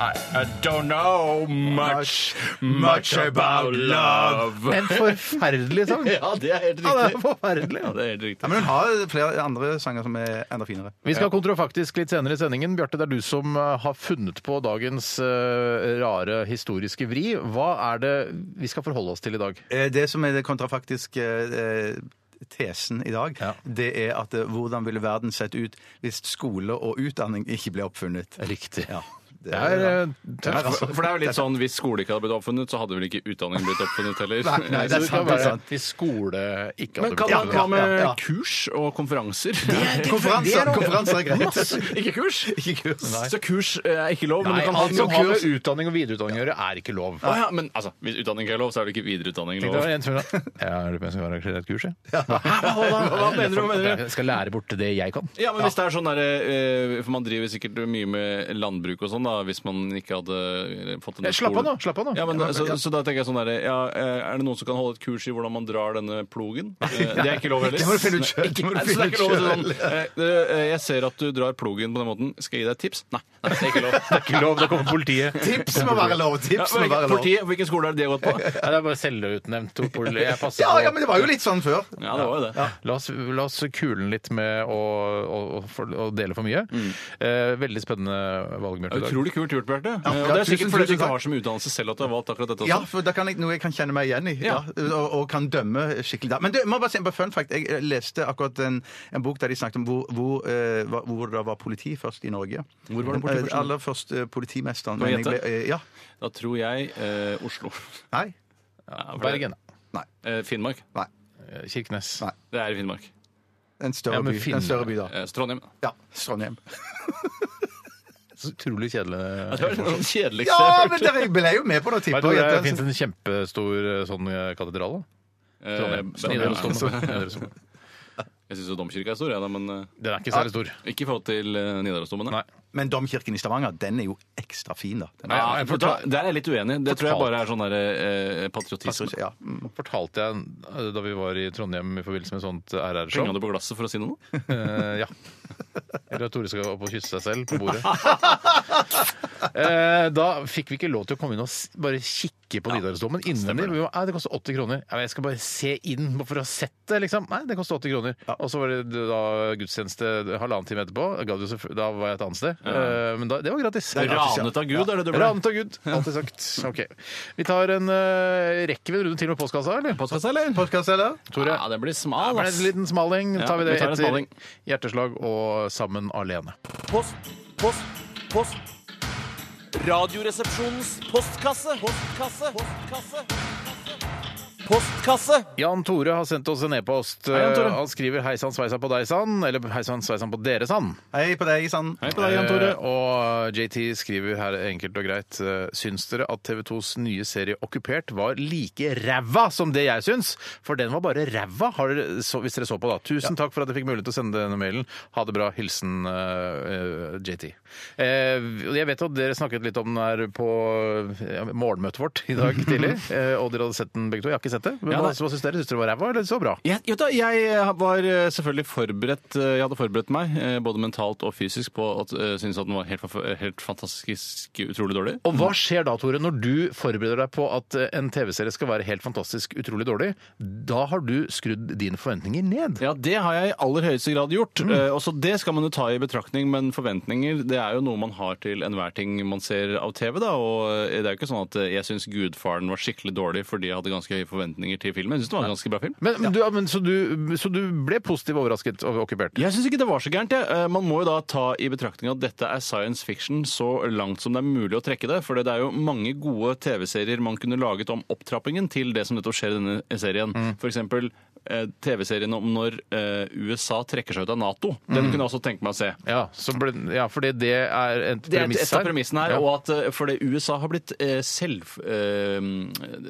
I, I don't know much, much about love. En forferdelig sang! Ja, det er helt Ja, det er riktig. forferdelig. Ja, det er helt riktig. Ja, men hun har flere andre sanger som er enda finere. Vi skal ha kontrafaktisk litt senere i sendingen. Bjarte, det er du som eh, har funnet på dagens eh, rare historiske vri. Hva er det vi skal forholde oss til i dag? Eh, Det som er det kontrafaktiske eh, tesen i dag, det er at eh, hvordan ville verden sett ut hvis skole og utdanning ikke ble oppfunnet? Riktig. Ja, det Det er er, altså- eh, tøft. For for det er jo litt sånn, Hvis skole ikke hadde blitt oppfunnet, så hadde vel ikke utdanning blitt oppfunnet heller. Nei, nei, det er Så det kan sant, det er være sant. Hvis skole ikke Men hadde hva, blitt hva med ja, ja. kurs og konferanser? konferanser, konferanser er greit. Masse, ikke kurs! Ikke kurs. Så kurs eh, er ikke lov, men Nei, du kan ha alt som har med utdanning og videreutdanning å gjøre, er ikke lov. Å ja, men altså, Hvis utdanning ikke er lov, så er det ikke videreutdanning Tenk lov. deg det er en som sånn, Ja, er du på en som har arrangert et kurs, jeg? Hva mener du? Hva mener du? Jeg skal lære bort det jeg kan. Ja, men hvis det er sånn der, eh, For man driver sikkert mye med landbruk og sånn, da, hvis man ikke hadde fått Ja, en Eh, slapp av nå, slapp av nå. Ja, men, så, så da tenker jeg sånn der, ja, eh, Er det noen som kan holde et kurs i hvordan man drar denne plogen? Eh, Det er ikke lov heller. Det må du finne ut selv. Det må du Nei, så det er ikke lov finne å ut si sånn, eh, eh, Jeg ser at du drar plogen på den måten. Skal jeg gi deg et tips? Nei, nei det er ikke lov. Det er ikke lov. Da kommer politiet. Tips må være lov! Ja, Tips må men, være lov. politiet, hvilken skole er det de har gått på? Nei, det er bare selvutnevnt. to poli- Jeg passer Ja, på. ja, men det var jo litt sånn før. Ja, det var jo det. La oss, la oss kulen litt med å, å, å, for, å dele for mye. Eh, veldig spennende valgmøte i dag. Utrolig kult gjort, Bjarte. Eh, og ja, det er tusen, sikkert fordi du tusen ikke takk. har så mye utdannelse selv at du har valgt akkurat dette også. Ja, for da kan jeg, noe jeg kan kjenne meg igjen i. Ja. sånn. Ja. og, og kan dømme skikkelig. da. Men du, jeg må bare si en fun fact. Jeg eh, leste akkurat en, en bok der de snakket om hvor, hvor, eh, hva- hvor det var politi først i Norge. Hvor var det politi Eh, først? Aller først eh, politimesteren. Kan jeg men jeg gjette? ble- eh, ja. Da tror jeg eh, Oslo. Nei. Ja, for det- Bergen. Eh, Finnmark. eh, Kirkenes. Nei. Det er i Finnmark. En større, Ja, men by. Finn- En større by, da. Eh, Trondheim. Ja, Trondheim. Så utrolig kjedelig. Det var den kjedeligste jeg Ja, har men hørt. dere, jeg ble jo med på noe Vet du, tipper hvor jeg. det fins en kjempestor eh, sånn eh, katedral? da? Eh, Trondheim. Trondheim. Nidarosdomen. Nidarosdomen. Jeg syns jo domkirka er stor, ja, da, men eh, Den er ikke særlig stor. ikke i forhold til eh, Nidarosdomen. Nei. Men domkirken i Stavanger, den er jo ekstra fin, da. Den er, Ja, Nei, for Ah, da, der er jeg litt uenig. Det tror jeg bare er sånn der, eh, patriotisme. ja. mm. Fortalte jeg eh, da vi var i Trondheim i forbindelse med et sånt Plinga RR-show? du på glasset for å si noe? Eh, ja. Eller at Tore skal opp og kysse seg selv på bordet. Eh, da fikk vi ikke lov til å komme inn og s- bare kikke på Nidarosdomen innvendig. Vi var, «Nei, det koster 80 kroner. Ja, men jeg skal bare se inn bare for å ha sett det, liksom. Nei, det koster 80 kroner. Og så var det da gudstjeneste halvannen time etterpå. Da gadd jo selvfø- Da var jeg et annet sted. Eh, men da, det var gratis. Ranet av Gud, er det du ble? Ranet av Gud. Alltid sagt. Ok. Vi tar en uh, rekke vi en runde til med postkassa, eller? Postkassa, eller? Podcast, eller? Tore. Ja, det blir Ja, smal, men ass. en liten smaling Ja, tar vi det vi tar en etter smaling. hjerteslag og Sammen alene. Post, post, post. Radioresepsjonens postkasse. Postkasse. Postkasse. Postkasse. Jan Tore har sendt oss en e-post. Jan Tore. Eh, Han skriver 'Hei sann, sveisann på deg sann', eller 'Hei sann, sveisann på dere sann'. Hei på deg, sann. Hei på deg, Jan Tore. Eh, Og JT skriver her enkelt og greit eh, Syns dere at TV 2s nye serie 'Okkupert' var like ræva som det jeg syns? For den var bare ræva, har dere, så, hvis dere så på, da. Tusen takk for at jeg fikk mulighet til å sende denne mailen. Ha det bra. Hilsen eh, eh, JT. Eh, og jeg vet jo at dere snakket litt om den her på ja, morgenmøtet vårt i dag tidlig. eh, og dere hadde sett den begge to. Jeg har ikke sett det. Men Ja, hva, nei. hva syns dere? Syns dere det var ræva, eller så bra? Jeg, jo da, jeg var eh, selvfølgelig forberedt eh, Jeg hadde forberedt meg eh, både mentalt og fysisk på at eh, syntes at den var helt, fa- helt fantastisk utrolig dårlig. Og hva skjer da, Tore, når du forbereder deg på at eh, en TV-serie skal være helt fantastisk utrolig dårlig? Da har du skrudd dine forventninger ned. Ja, det har jeg i aller høyeste grad gjort. Eh, også det skal man jo ta i betraktning, men forventninger det er jo noe man har til enhver ting man ser av TV. da, og eh, Det er jo ikke sånn at eh, jeg syns Gudfaren var skikkelig dårlig fordi jeg hadde ganske høye forventninger til filmen. Jeg syns det var en ganske bra film. Men, men, du, ja, men, så, du, så du ble positivt overrasket og okkupert? Jeg syns ikke det var så gærent. jeg. Eh, Man må jo da ta i betraktning at dette er science fiction så langt som det er mulig å trekke det. For det er jo mange gode TV-serier man kunne laget om opptrappingen til det som nettopp skjer i denne serien. For eksempel eh, TV-serien om når eh, USA trekker seg ut av Nato. Den kunne jeg også tenke meg å se. Ja, så ble, ja fordi det er et Det er et, premiss et av premissene her. Ja. Og at eh, fordi USA har blitt eh, selv, eh,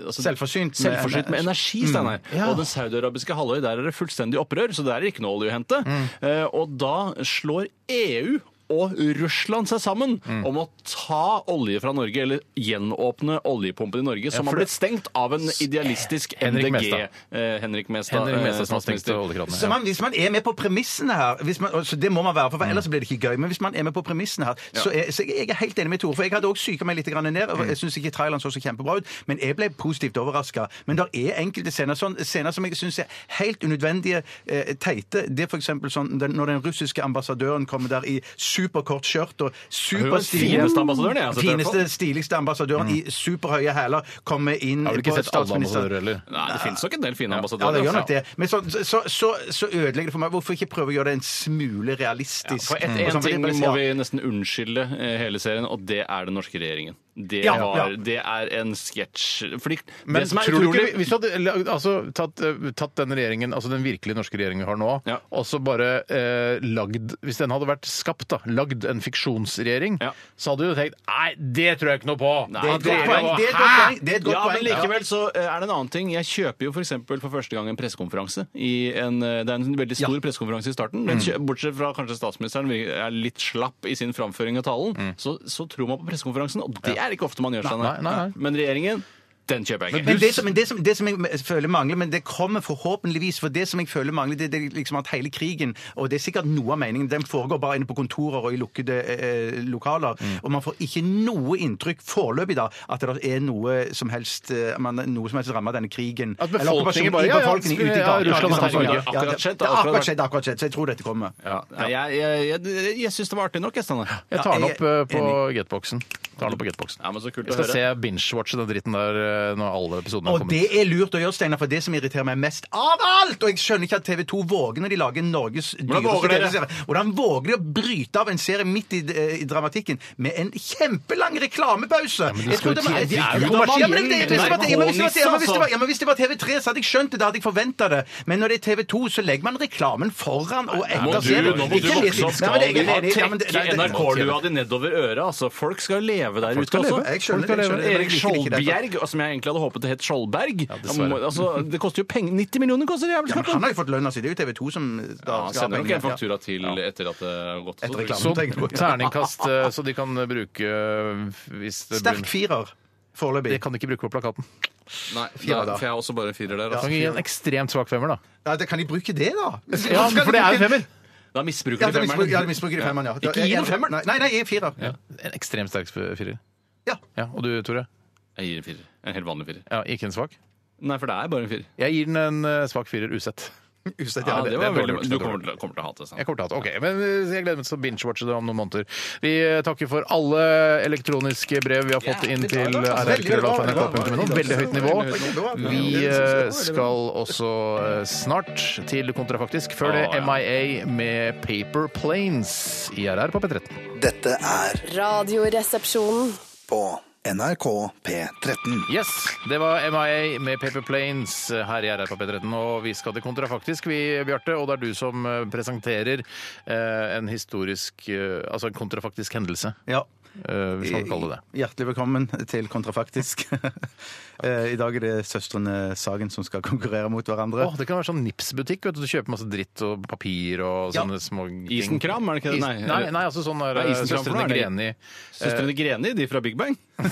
altså, Selvforsynt med- selvforsynt med energi, Steinar. Mm. Ja. Og den saudiarabiske halvøy, der er det fullstendig opprør, så der er det ikke noe olje å hente. Mm. Eh, og da slår EU og Russland seg sammen Mm. om å ta olje fra Norge, eller gjenåpne oljepumpen i Norge, som for har det- blitt stengt av en idealistisk Henrik MDG. Mestad. eh, Henrik Mestad, Henrik eh, Mestad som har stengt statsminister. oljekranene. Så Ja. man, hvis man er med på premissene her hvis man, så Det må man være, for ellers blir det ikke gøy. Men hvis man er med på premissene her, så, er, så jeg er helt enig med Tore. For jeg hadde også psyka meg litt grann ned. og Jeg syns ikke traileren så så kjempebra ut, men jeg ble positivt overraska. Men det er enkelte scener, sånn, scener som jeg syns er helt unødvendige, eh, teite. Det er f.eks. sånn den, når den russiske ambassadøren kommer der i superkort skjørt og Hun er den superstilig fineste ambassadøren jeg har sett. i hvert fall. Fineste, stiligste ambassadøren i superhøye hæler kommer inn Har du ikke på sett alle statsminister- ambassadører heller? Nei, det finnes nok en del fine Ja, ambassadører. det gjør altså. nok det. Men så, så, så, så ødelegger det for meg. Hvorfor ikke prøve å gjøre det en smule realistisk? For Mm. et, Og en sånn, ting fordi- må ja. vi nesten unnskylde eh, hele serien, og det er den norske regjeringen. Det, Ja, var, ja. det er en sketsj. Fordi Men det som er tror du ikke, utrolig hvis du hadde lagd- altså, tatt, eh, tatt den regjeringen, altså den virkelige norske regjeringen vi har nå, Ja. og så bare eh, lagd Hvis den hadde vært skapt, da, lagd en fiksjonsregjering, Ja. så hadde du tenkt Nei, det tror jeg ikke noe på! Nei, det det tror er jeg et ikke noe godt poeng, på. det er et Hæ? godt poeng. Det er et godt Ja, men poeng. likevel så eh, er det en annen ting. Jeg kjøper jo for eksempel for første gang en pressekonferanse. i en, eh, Det er en veldig stor pressekonferanse i starten. Mm. Men kjø- bortsett fra kanskje statsministeren vi- er litt slapp i sin framføring av talen, så, så tror man på pressekonferansen, og det er det ikke ofte man gjør. Steinar. Mm. nei, nei, nei. Men regjeringen, den kjøper jeg ikke. Men det, som, men det, som, det som jeg føler mangler, men det kommer forhåpentligvis For det som jeg føler mangler, det, det er liksom at hele krigen Og det er sikkert noe av meningen. Den foregår bare inne på kontorer og i lukkede eh, lokaler. Mm. Og man får ikke noe inntrykk foreløpig da at det er noe som helst eh, man, noe som helst rammer denne krigen. At Eller befolkningen operasjonen i bare, ja, ja, befolkningen ute i ja, gatene, Russland ikke sant? har Ja, akkurat ja, skjedd, Det akkurat har vært- akkurat skjedd, akkurat skjedd. Så jeg tror dette kommer. Ja. Nei, Jeg, jeg, jeg, jeg syns det var artig nok, jeg, Steinar. Jeg tar den Ja, jeg opp eh, på enig. Getboxen. Tar den opp på Getboxen. Ja, men så kult Jeg skal å høre. se binge-watche den dritten der eh, når alle episodene har Og det kommet. er lurt å gjøre, Steinar, for det som irriterer meg mest av alt Og jeg skjønner ikke at TV 2 våger når de lager Norges våger dyreste dere? TV-serie. Hvordan våger de å bryte av en serie midt i, eh, i dramatikken med en kjempelang reklamepause? men du Jeg skal trodde jo man- tjene- de er Ja, jo men kommersielle. det- ja, men det- hvis det var- ja, men hvis det var- ja, men hvis altså. det var- ja, men Hvis det var TV3, så hadde jeg skjønt det. Da hadde jeg forventa det. Men når det er TV 2, så legger man reklamen foran og Må etter du, serien. nå må du Ikke vokse opp. litt- Skal Nei, men du jeg er ha enig. Ja, men det- trekke det- det- NRK-lua di nedover øret? Altså, folk skal leve der ute skal også. leve. Jeg skjønner Folk skal det, jeg leve. skjønner det, men Erik jeg liker det ikke, det er Skjoldberg, som jeg egentlig hadde håpet det het Skjoldberg. dessverre. må- altså, det koster jo penger. 90 millioner koster det jævlig Ja, men skatt. han har jo fått lønna si. Det er jo TV 2 som Ja, han da skal ha sender nok en pengene. Ja. faktura til etter at det har gått. Etter reklamen. Så tenker jeg på. terningkast, eh, så de kan bruke eh, hvis det Sterk firer foreløpig. Det kan de ikke bruke på plakaten. Nei, Fire, da. for jeg har også bare en firer der. Kan Altså. gi en ekstremt svak femmer, da. Ja, det, kan de bruke det, da? Ja, for det er jo femmer! Da misbruker Ja, de det misbruker, ja, det femmeren. misbruker de femmeren, ja. Ikke gi den femmeren. Nei, nei, nei, jeg er firer. Ja. En ekstremt sterk firer. Ja. Ja, og du, Tore? Jeg gir en firer. En helt vanlig firer. Ja, ikke en svak? Nei, for det er bare en firer. Jeg gir den en eh, svak firer usett. Usett, Ja, ja. det det- var det er dårlig veldig gjort, Du det er kommer til, kommer til å hate det. sant? Jeg kommer til å ha det. Ok, men eh, jeg gleder meg til å binge-watche det om noen måneder. Vi eh, takker for alle elektroniske brev vi har fått inn til rrkrøllalfa.nrk.no. Veldig høyt nivå. Vi eh, skal også eh, snart til Kontrafaktisk. Før det Å, ja. MIA med Paper Planes i RR på P13. Dette er Radioresepsjonen. på NRK P13. Yes, det var MIA med Paper Planes her i RR på P13. Og vi skal til Kontrafaktisk, vi, Bjarte. Og det er du som eh, presenterer eh, en historisk eh, Altså en kontrafaktisk hendelse, Ja. eh, hvis man kan kalle det det. Hjertelig velkommen til Kontrafaktisk. Eh, I dag er det søstrene Sagen som skal konkurrere mot Eh, hverandre. Åh, det kan være sånn Nipps-butikk. vet Du Du kjøper masse dritt og papir og Ja. sånne små ting. Isenkram, er det ikke det? Is- Nei, nei, altså sånn der, Nei, isenkram, for Søstrene da er det- Greni. Søstrene Greni, de fra Big Bang? Nei,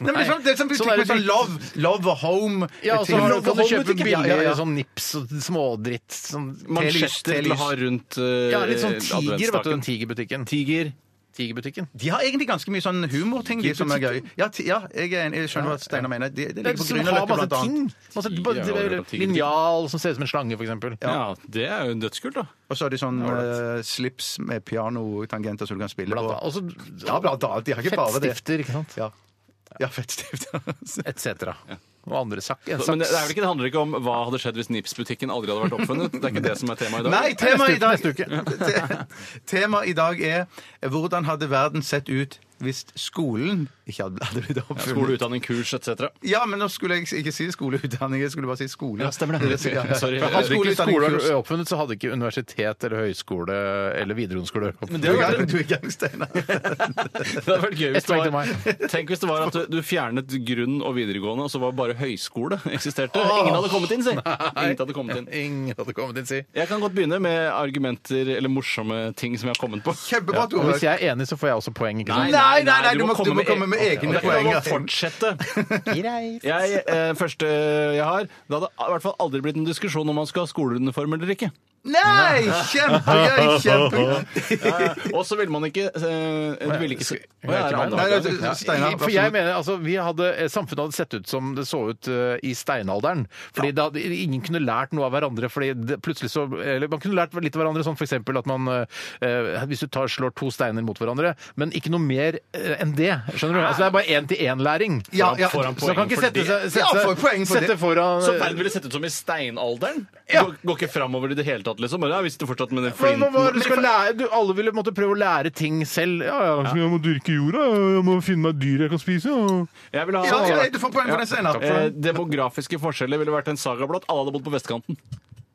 men det er sånn, det er sånn, Sånn butikk er med det sånn butikk. love, love og home. Ja, altså, og så har- kan du kjøpe billig Ja, ja, ja. sånn Nips og smådritt. Sånn Mansjetter Mansjetter til å lys. ha rundt eh, ja, litt sånn tiger, vet du, den adventsstaken. tigerbutikken. Tiger. Tigerbutikken. De har egentlig ganske mye sånn humorting, de som er gøy. Ja, ti- ja jeg, er enig. jeg skjønner hva Steinar mener. De, de ligger på Som altså har Grünerløkka, masse blant annet. ting. Masse, Tiger, ja, det er tigerbutikk. linjal som ser ut som en slange, for eksempel. Ja. det er jo dødskult, da. Og så har de sånn eh, slips med pianotangenter som du kan spille Blant på. annet. Altså, Og så Ja, blant annet. De har ikke bare det. fettstifter, ikke sant? Ja, fettstift. Et cetera. Og andre sak, en Men det, det, er vel saks. ikke, det handler ikke om hva hadde skjedd hvis Nips-butikken aldri hadde vært oppfunnet. Det er ikke det som er temaet i dag. Nei, temaet i dag, Neste uke, Te- tema i dag er hvordan hadde verden sett ut hvis skolen ikke hadde hadde blitt oppfunnet? Skole, utdanning, kurs etc. Ja, men nå skulle jeg ikke si skoleutdanning, jeg skulle bare si skole. Ja, stemmer det. Ja. Sorry. Ja, Hadde ikke skoleutdanning, skole kurs. vært oppfunnet, så hadde ikke universitet eller høyskole eller videregående skole vært oppfunnet. Men det Du er i hadde gang- vært, Du er i gang, Steinar. det hadde vært gøy hvis Ett det poeng til var Tenk hvis det var at du, du fjernet grunn og videregående, og så var bare høyskole eksisterte. Ingen hadde kommet inn, si! Ingen hadde kommet inn. Ingen hadde kommet inn, si. Jeg kan godt begynne med argumenter eller morsomme ting som jeg har kommet på. Kjempebra, Og Tore. hvis jeg er enig, så får jeg også poeng. ikke sant? Nei, nei, nei, du må- du må komme med Ok, egne ok, Jeg poeng, må altså. fortsette. Jeg, eh, første jeg har Det hadde i hvert fall aldri blitt en diskusjon om man skal ha skoleuniform eller ikke. Nei, kjempegøy, kjempegøy. Og så ville man ikke eh, Du ville ikke Skal- Å, ja, er det andre? Nei, altså, Steinar, For jeg absolutt. mener, altså, vi hadde, Samfunnet hadde sett ut som det så ut eh, i steinalderen. Fordi da hadde, Ingen kunne lært noe av hverandre. fordi det, plutselig så, eller Man kunne lært litt av hverandre, sånn f.eks. at man eh, hvis du tar, slår to steiner mot hverandre, men ikke noe mer eh, enn det. skjønner du? Altså Det er bare én-til-én-læring. Ja, ja. Får han Så man kan poeng ikke for sette, det? seg, Ja, sette, får poeng for sette det. foran eh, Så verden ville sett ut som i steinalderen? Går, går ikke framover i det hele tatt, liksom? Bare, Ja, hvis du fortsatt med den Men hva- hva flinten er det du skal liksom lære? Du, alle ville måtte prøve å lære ting selv. Ja, ja, så Jeg må dyrke jorda, jeg må finne meg dyr jeg kan spise. ja. Jeg vil ha Ja, ja, du får poeng for den, Steinar. Ja. Eh, demografiske forskjeller ville vært en saga blått. Alle hadde bodd på vestkanten.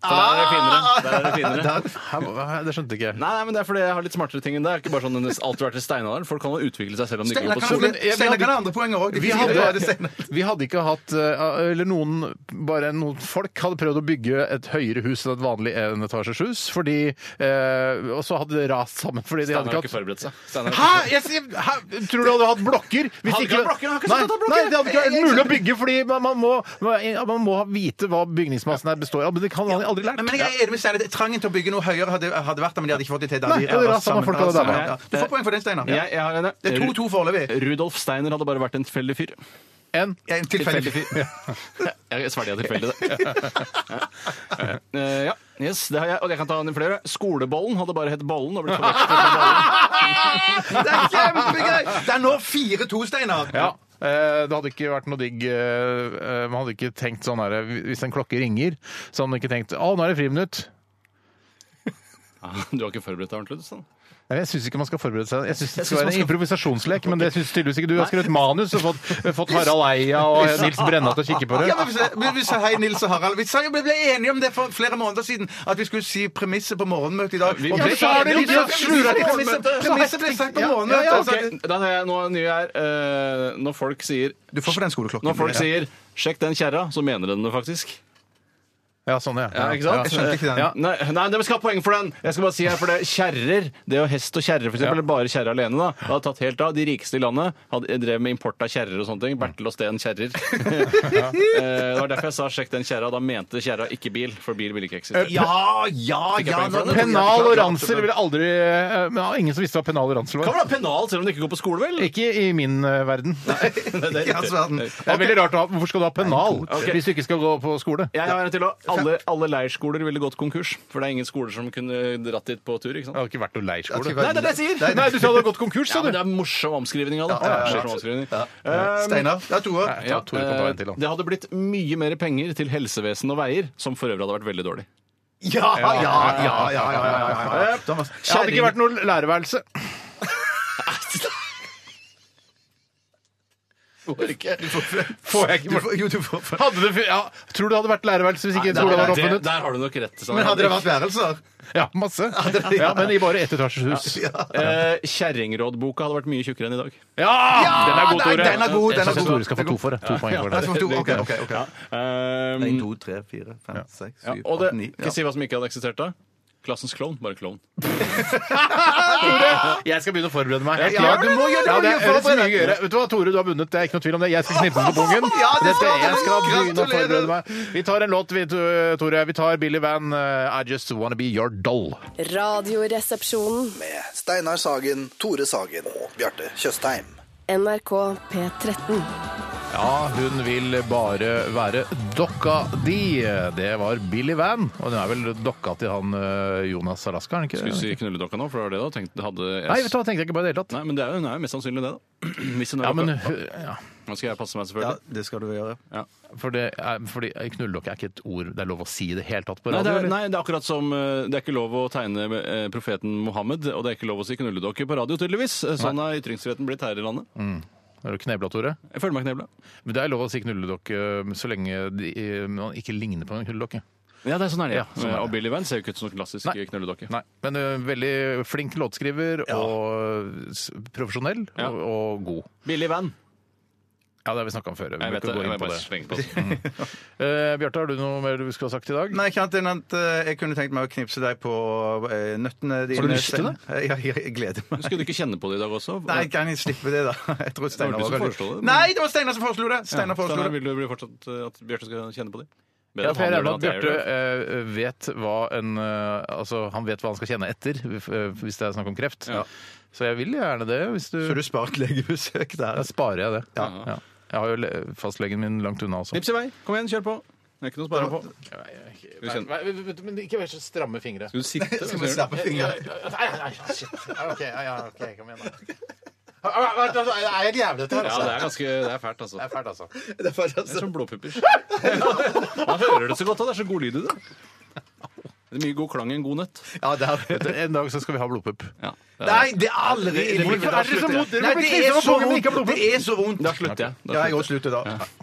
Så der er det finere. Der er det finere. Hæ, hva- Det skjønte ikke jeg. Nei, nei, men Det er fordi jeg har litt smartere ting enn det. Det er ikke bare sånn at det alltid har vært i steinalderen. Folk kan jo utvikle seg selv om de ikke går Steinar på kan, skolen. men jeg- vi Steinar kan hadde- ha andre poenger òg. Vi hadde, vi hadde ikke hatt eh, Eller noen bare noen folk hadde prøvd å bygge et høyere hus enn et vanlig enetasjeshus, fordi eh, Og så hadde det rast sammen fordi de hadde Steinar har ikke ikke hatt forberedt seg. Steinar- Hæ? Jeg sier, hæ? Tror du du hadde hatt blokker? Hvis Hadde ikke hatt blokker, han har ikke nei, sagt at han hadde nei, blokker. det hadde ikke vært mulig å bygge, fordi man, man, må, man må vite hva bygningsmassen her består av. Men det kan man aldri lært. Men jeg er enig med Steinar. Trangen til å bygge noe høyere hadde, hadde vært der, men de hadde ikke fått det til. Da. Nei, De det er det var samme folk hadde sammen. der, Ja, ja. Du får poeng for den, Steinar. Jeg, jeg har en, Det er 2-2 foreløpig. Rudolf Steiner hadde bare vært en tilfeldig fyr. En En tilfeldig fyr. Jeg svelger tilfeldig, det. Eh, ja, yes, det har jeg. Og jeg kan ta en flere. Skolebollen hadde bare hett Bollen. Og blitt forvekslet med bollen. Det er kjempegøy! Det er nå 4-2, Steinar. Ja. eh, Det hadde ikke vært noe digg eh, eh, Man hadde ikke tenkt sånn her Hvis en klokke ringer, så hadde man ikke tenkt Å, nå er det friminutt. Ja, Ah, du har ikke forberedt deg ordentlig? du, Steiner. Nei, Jeg syns ikke man skal forberede seg. Jeg synes Det Jeg skal synes være man en skal- improvisasjonslek, men det syns tydeligvis ikke du. Du har skrevet manus og fått, fått Harald Eia og Nils Brenna til å kikke på det. Ja, men vi, sa- men vi sa hei, Nils og Harald. Vi, sa, jo- vi ble enige om det for flere måneder siden, at vi skulle si premisset på morgenmøtet i dag. vi- Og Ja, ble- men så har dere vi- ikke premisset- sløret premisset- Premisset ble sagt på morgenmøtet. Ja, ok. altså. Da har jeg noe nye her. Eh, Når folk sier Du får for den skoleklokken. Når folk Ja. sier 'sjekk den kjerra', så mener de det faktisk. Ja, sånn, ja. Ja, ikke sant? Jeg skjønte ikke den. Ja, nei, nei, men vi skal ha poeng for den! Jeg skal bare si her, for det Kjerrer, det å hest og kjerre, f.eks., eller bare kjerre alene, da, det hadde tatt helt av. De rikeste i landet hadde, drev med import av kjerrer og sånne ting. Bertel og Steen kjerrer. Eh, det var derfor jeg sa 'sjekk den kjerra'. Da mente kjerra ikke bil, for bil ville ikke eksistere. Eh, Ja, ja, Fikk jeg ja. poeng for nå- den? Pennal og ransel ville aldri eh, Men Ingen som visste hva pennal og ransel Kan var. vel ha pennal selv om du ikke går på skole, vel? Ikke i min eh, verden. Ikke i hans verden. Det er veldig rart å ha Hvorfor skal du ha pennal Ok. hvis du ikke skal gå på skole? Jeg har en til også. Alle, alle leirskoler ville gått konkurs, for det er ingen skoler som kunne dratt dit på tur. ikke sant? Det har ikke vært noe leirskole. Nei, det er det jeg sier! Nei, du sa du hadde gått konkurs, Ja, sa du. men Det er morsom omskrivning av det. Morsom omskrivning. Um, Steinar. Det er Tore. ja, Ta Tore kan ta en til, da. eh, det hadde blitt mye mer penger til helsevesen og veier, som for øvrig hadde vært veldig dårlig. Ja, Ah, ja, ja, ja, ja, ja, ja. Thomas. Det hadde ikke vært noe lærerværelse. Får jeg Du ikke får- Jo, du får for... hadde det, fu- ja, Tror du det hadde vært lærerværelse hvis ikke skolen hadde vært det, oppfunnet? der har du nok rett. Sander. Men hadde det vært værelser? Ja, masse. Ja, men i bare ettetasjeshus. Ja! Eh, Kjerringrådboka hadde vært mye tjukkere enn i dag. Den er god, nei, Tore. den er god, Jeg den er syns god. Tore skal få to for det. To poeng for Nei, så det. for sånn to. Ok, ok, ok. Um, 1, 2, 3, 4, 5, 6, 7, ja, og 8, det, 9 kan jeg si hva som ikke hadde eksistert da? Klassens klovn. Bare klovn. Jeg skal begynne å forberede meg. Ja, du må gjøre det, Ja, det du må gjøre er det er så mye forberedt. gøyere. Vet du hva, Tore, du har vunnet. Det er ikke noe tvil om det. Jeg skal knippe den på pungen. Ja, det Dette- skal du. jeg skal begynne å Gratulerer. forberede meg. Vi tar en låt, vi, to- Tore. Vi tar Billy Van, eh, I Just Wanna Be Your Doll. Radioresepsjonen. Med Steinar Sagen, Tore Sagen og Bjarte Tjøstheim. NRK P13. Ja, hun vil bare være dokka di. Det var Billy Van. Og hun er vel dokka til han eh, Jonas Alaska, er Skal hun vi si ikke? knulledokka nå? For det var det da? Tenkte, hadde jeg... Nei, vet du hva, tenkte jeg ikke på i det hele tatt. Nei, men det er jo, hun er jo mest sannsynlig det, da. Hvis hun er Ja, men dokka. hun- ja. Nå skal jeg passe meg, Ja, selvfølgelig. det skal du gjøre. Ja. For det er, fordi knulldokk er ikke et ord det er lov å si i det hele tatt på Nei, radio? det er, eller? nei, det er akkurat som eh, det er ikke lov å tegne eh, profeten Mohammed, og det er ikke lov å si knulledokke på radio, tydeligvis. Eh, Sånn er ytringsfriheten blitt her i landet. Er du knebla, Tore? Jeg føler meg knebla. Men det er lov å si knulledokke så lenge de, eh, man ikke ligner på en knulledokke. Ja, det er sånn er det. Ja, Ja, sånn er det. Og Billy Van ser jo ikke ut som noen klassisk Nei. knulledokke. Nei, men ø, veldig flink låtskriver og s- profesjonell Ja. og, og god. Billy Van! Ja, det har vi snakka om før. Vi Jeg må vet ikke det. gå inn Jeg på bare det. slenger på det. Eh, Bjarte, har du noe mer du skulle ha sagt i dag? Nei, ikke annet enn at eh, jeg kunne tenkt meg å knipse deg på eh, nøttene dine. lyst til det? Stein. Ja, jeg, jeg gleder meg. Skulle du ikke kjenne på det i dag også? Nei, kan jeg slippe det, da? Jeg tror Steinar Det var du som veldig- foreslo det, men- Nei, det var Steinar som foreslo det! Steinar foreslo Steinar, det. vil du bli fortsatt eh, at Bjarte skal kjenne på det? Ja, for jeg regner med at Bedre at han gjør Bjarte det enn at jeg gjør det. eh, vet hva en eh, Altså, han vet hva han skal kjenne etter, eh, hvis det er snakk om kreft. Ja. Så jeg vil gjerne det. Hvis du, Så du spart legebesøk der. altså? Da sparer jeg det. Ja. Ja. Jeg har jo le- fastlegen min langt unna også. Knips i vei. Kom igjen, kjør på. Det er ikke noe å spare på. vi kjenne- Nei, nei, nei, Men ikke vær så stramme fingre. Skal du sitte? Skal Hva gjør vi du? slappe fingeren? Nei, nei, shit. OK, kom igjen, da. Det er helt jævlig, altså? dette her. Ja, det er ganske det er fælt, altså. Det er fælt, altså. Det er som blodpupper. Man hører det så godt, og det er så god lyd i det. Det er mye god klang i en god nøtt. Ja, det er det. En dag så skal vi ha blodpupp. Ja. Nei, det er aldri Hvorfor er det så vondt? Dere Nei, blir det knipset er av så folk, men ikke av vondt! blodpupp. Det er så vondt! Da slutter jeg. Da Ja, jeg slutter jeg. også slutter da.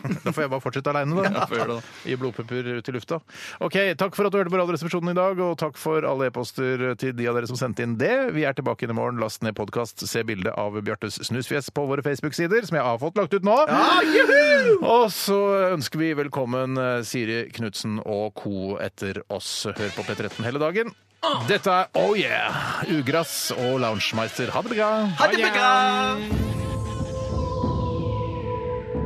Da får jeg bare fortsette aleine, da. Ja, får gjøre det, da. Gi blodpupper ut i lufta. Ok, Takk for at du hørte på Radioresepsjonen i dag, og takk for alle e-poster til de av dere som sendte inn det. Vi er tilbake inn i morgen. Last ned podkast. Se bilde av Bjartes snusfjes på våre Facebook-sider, som jeg har fått lagt ut nå. og så ønsker vi velkommen eh, Siri Knutsen og co. etter oss. Hør på P13 hele dagen. Dette er Oh Yeah! Ugrass og Loungemeister. Ha det bra! Ha det bra!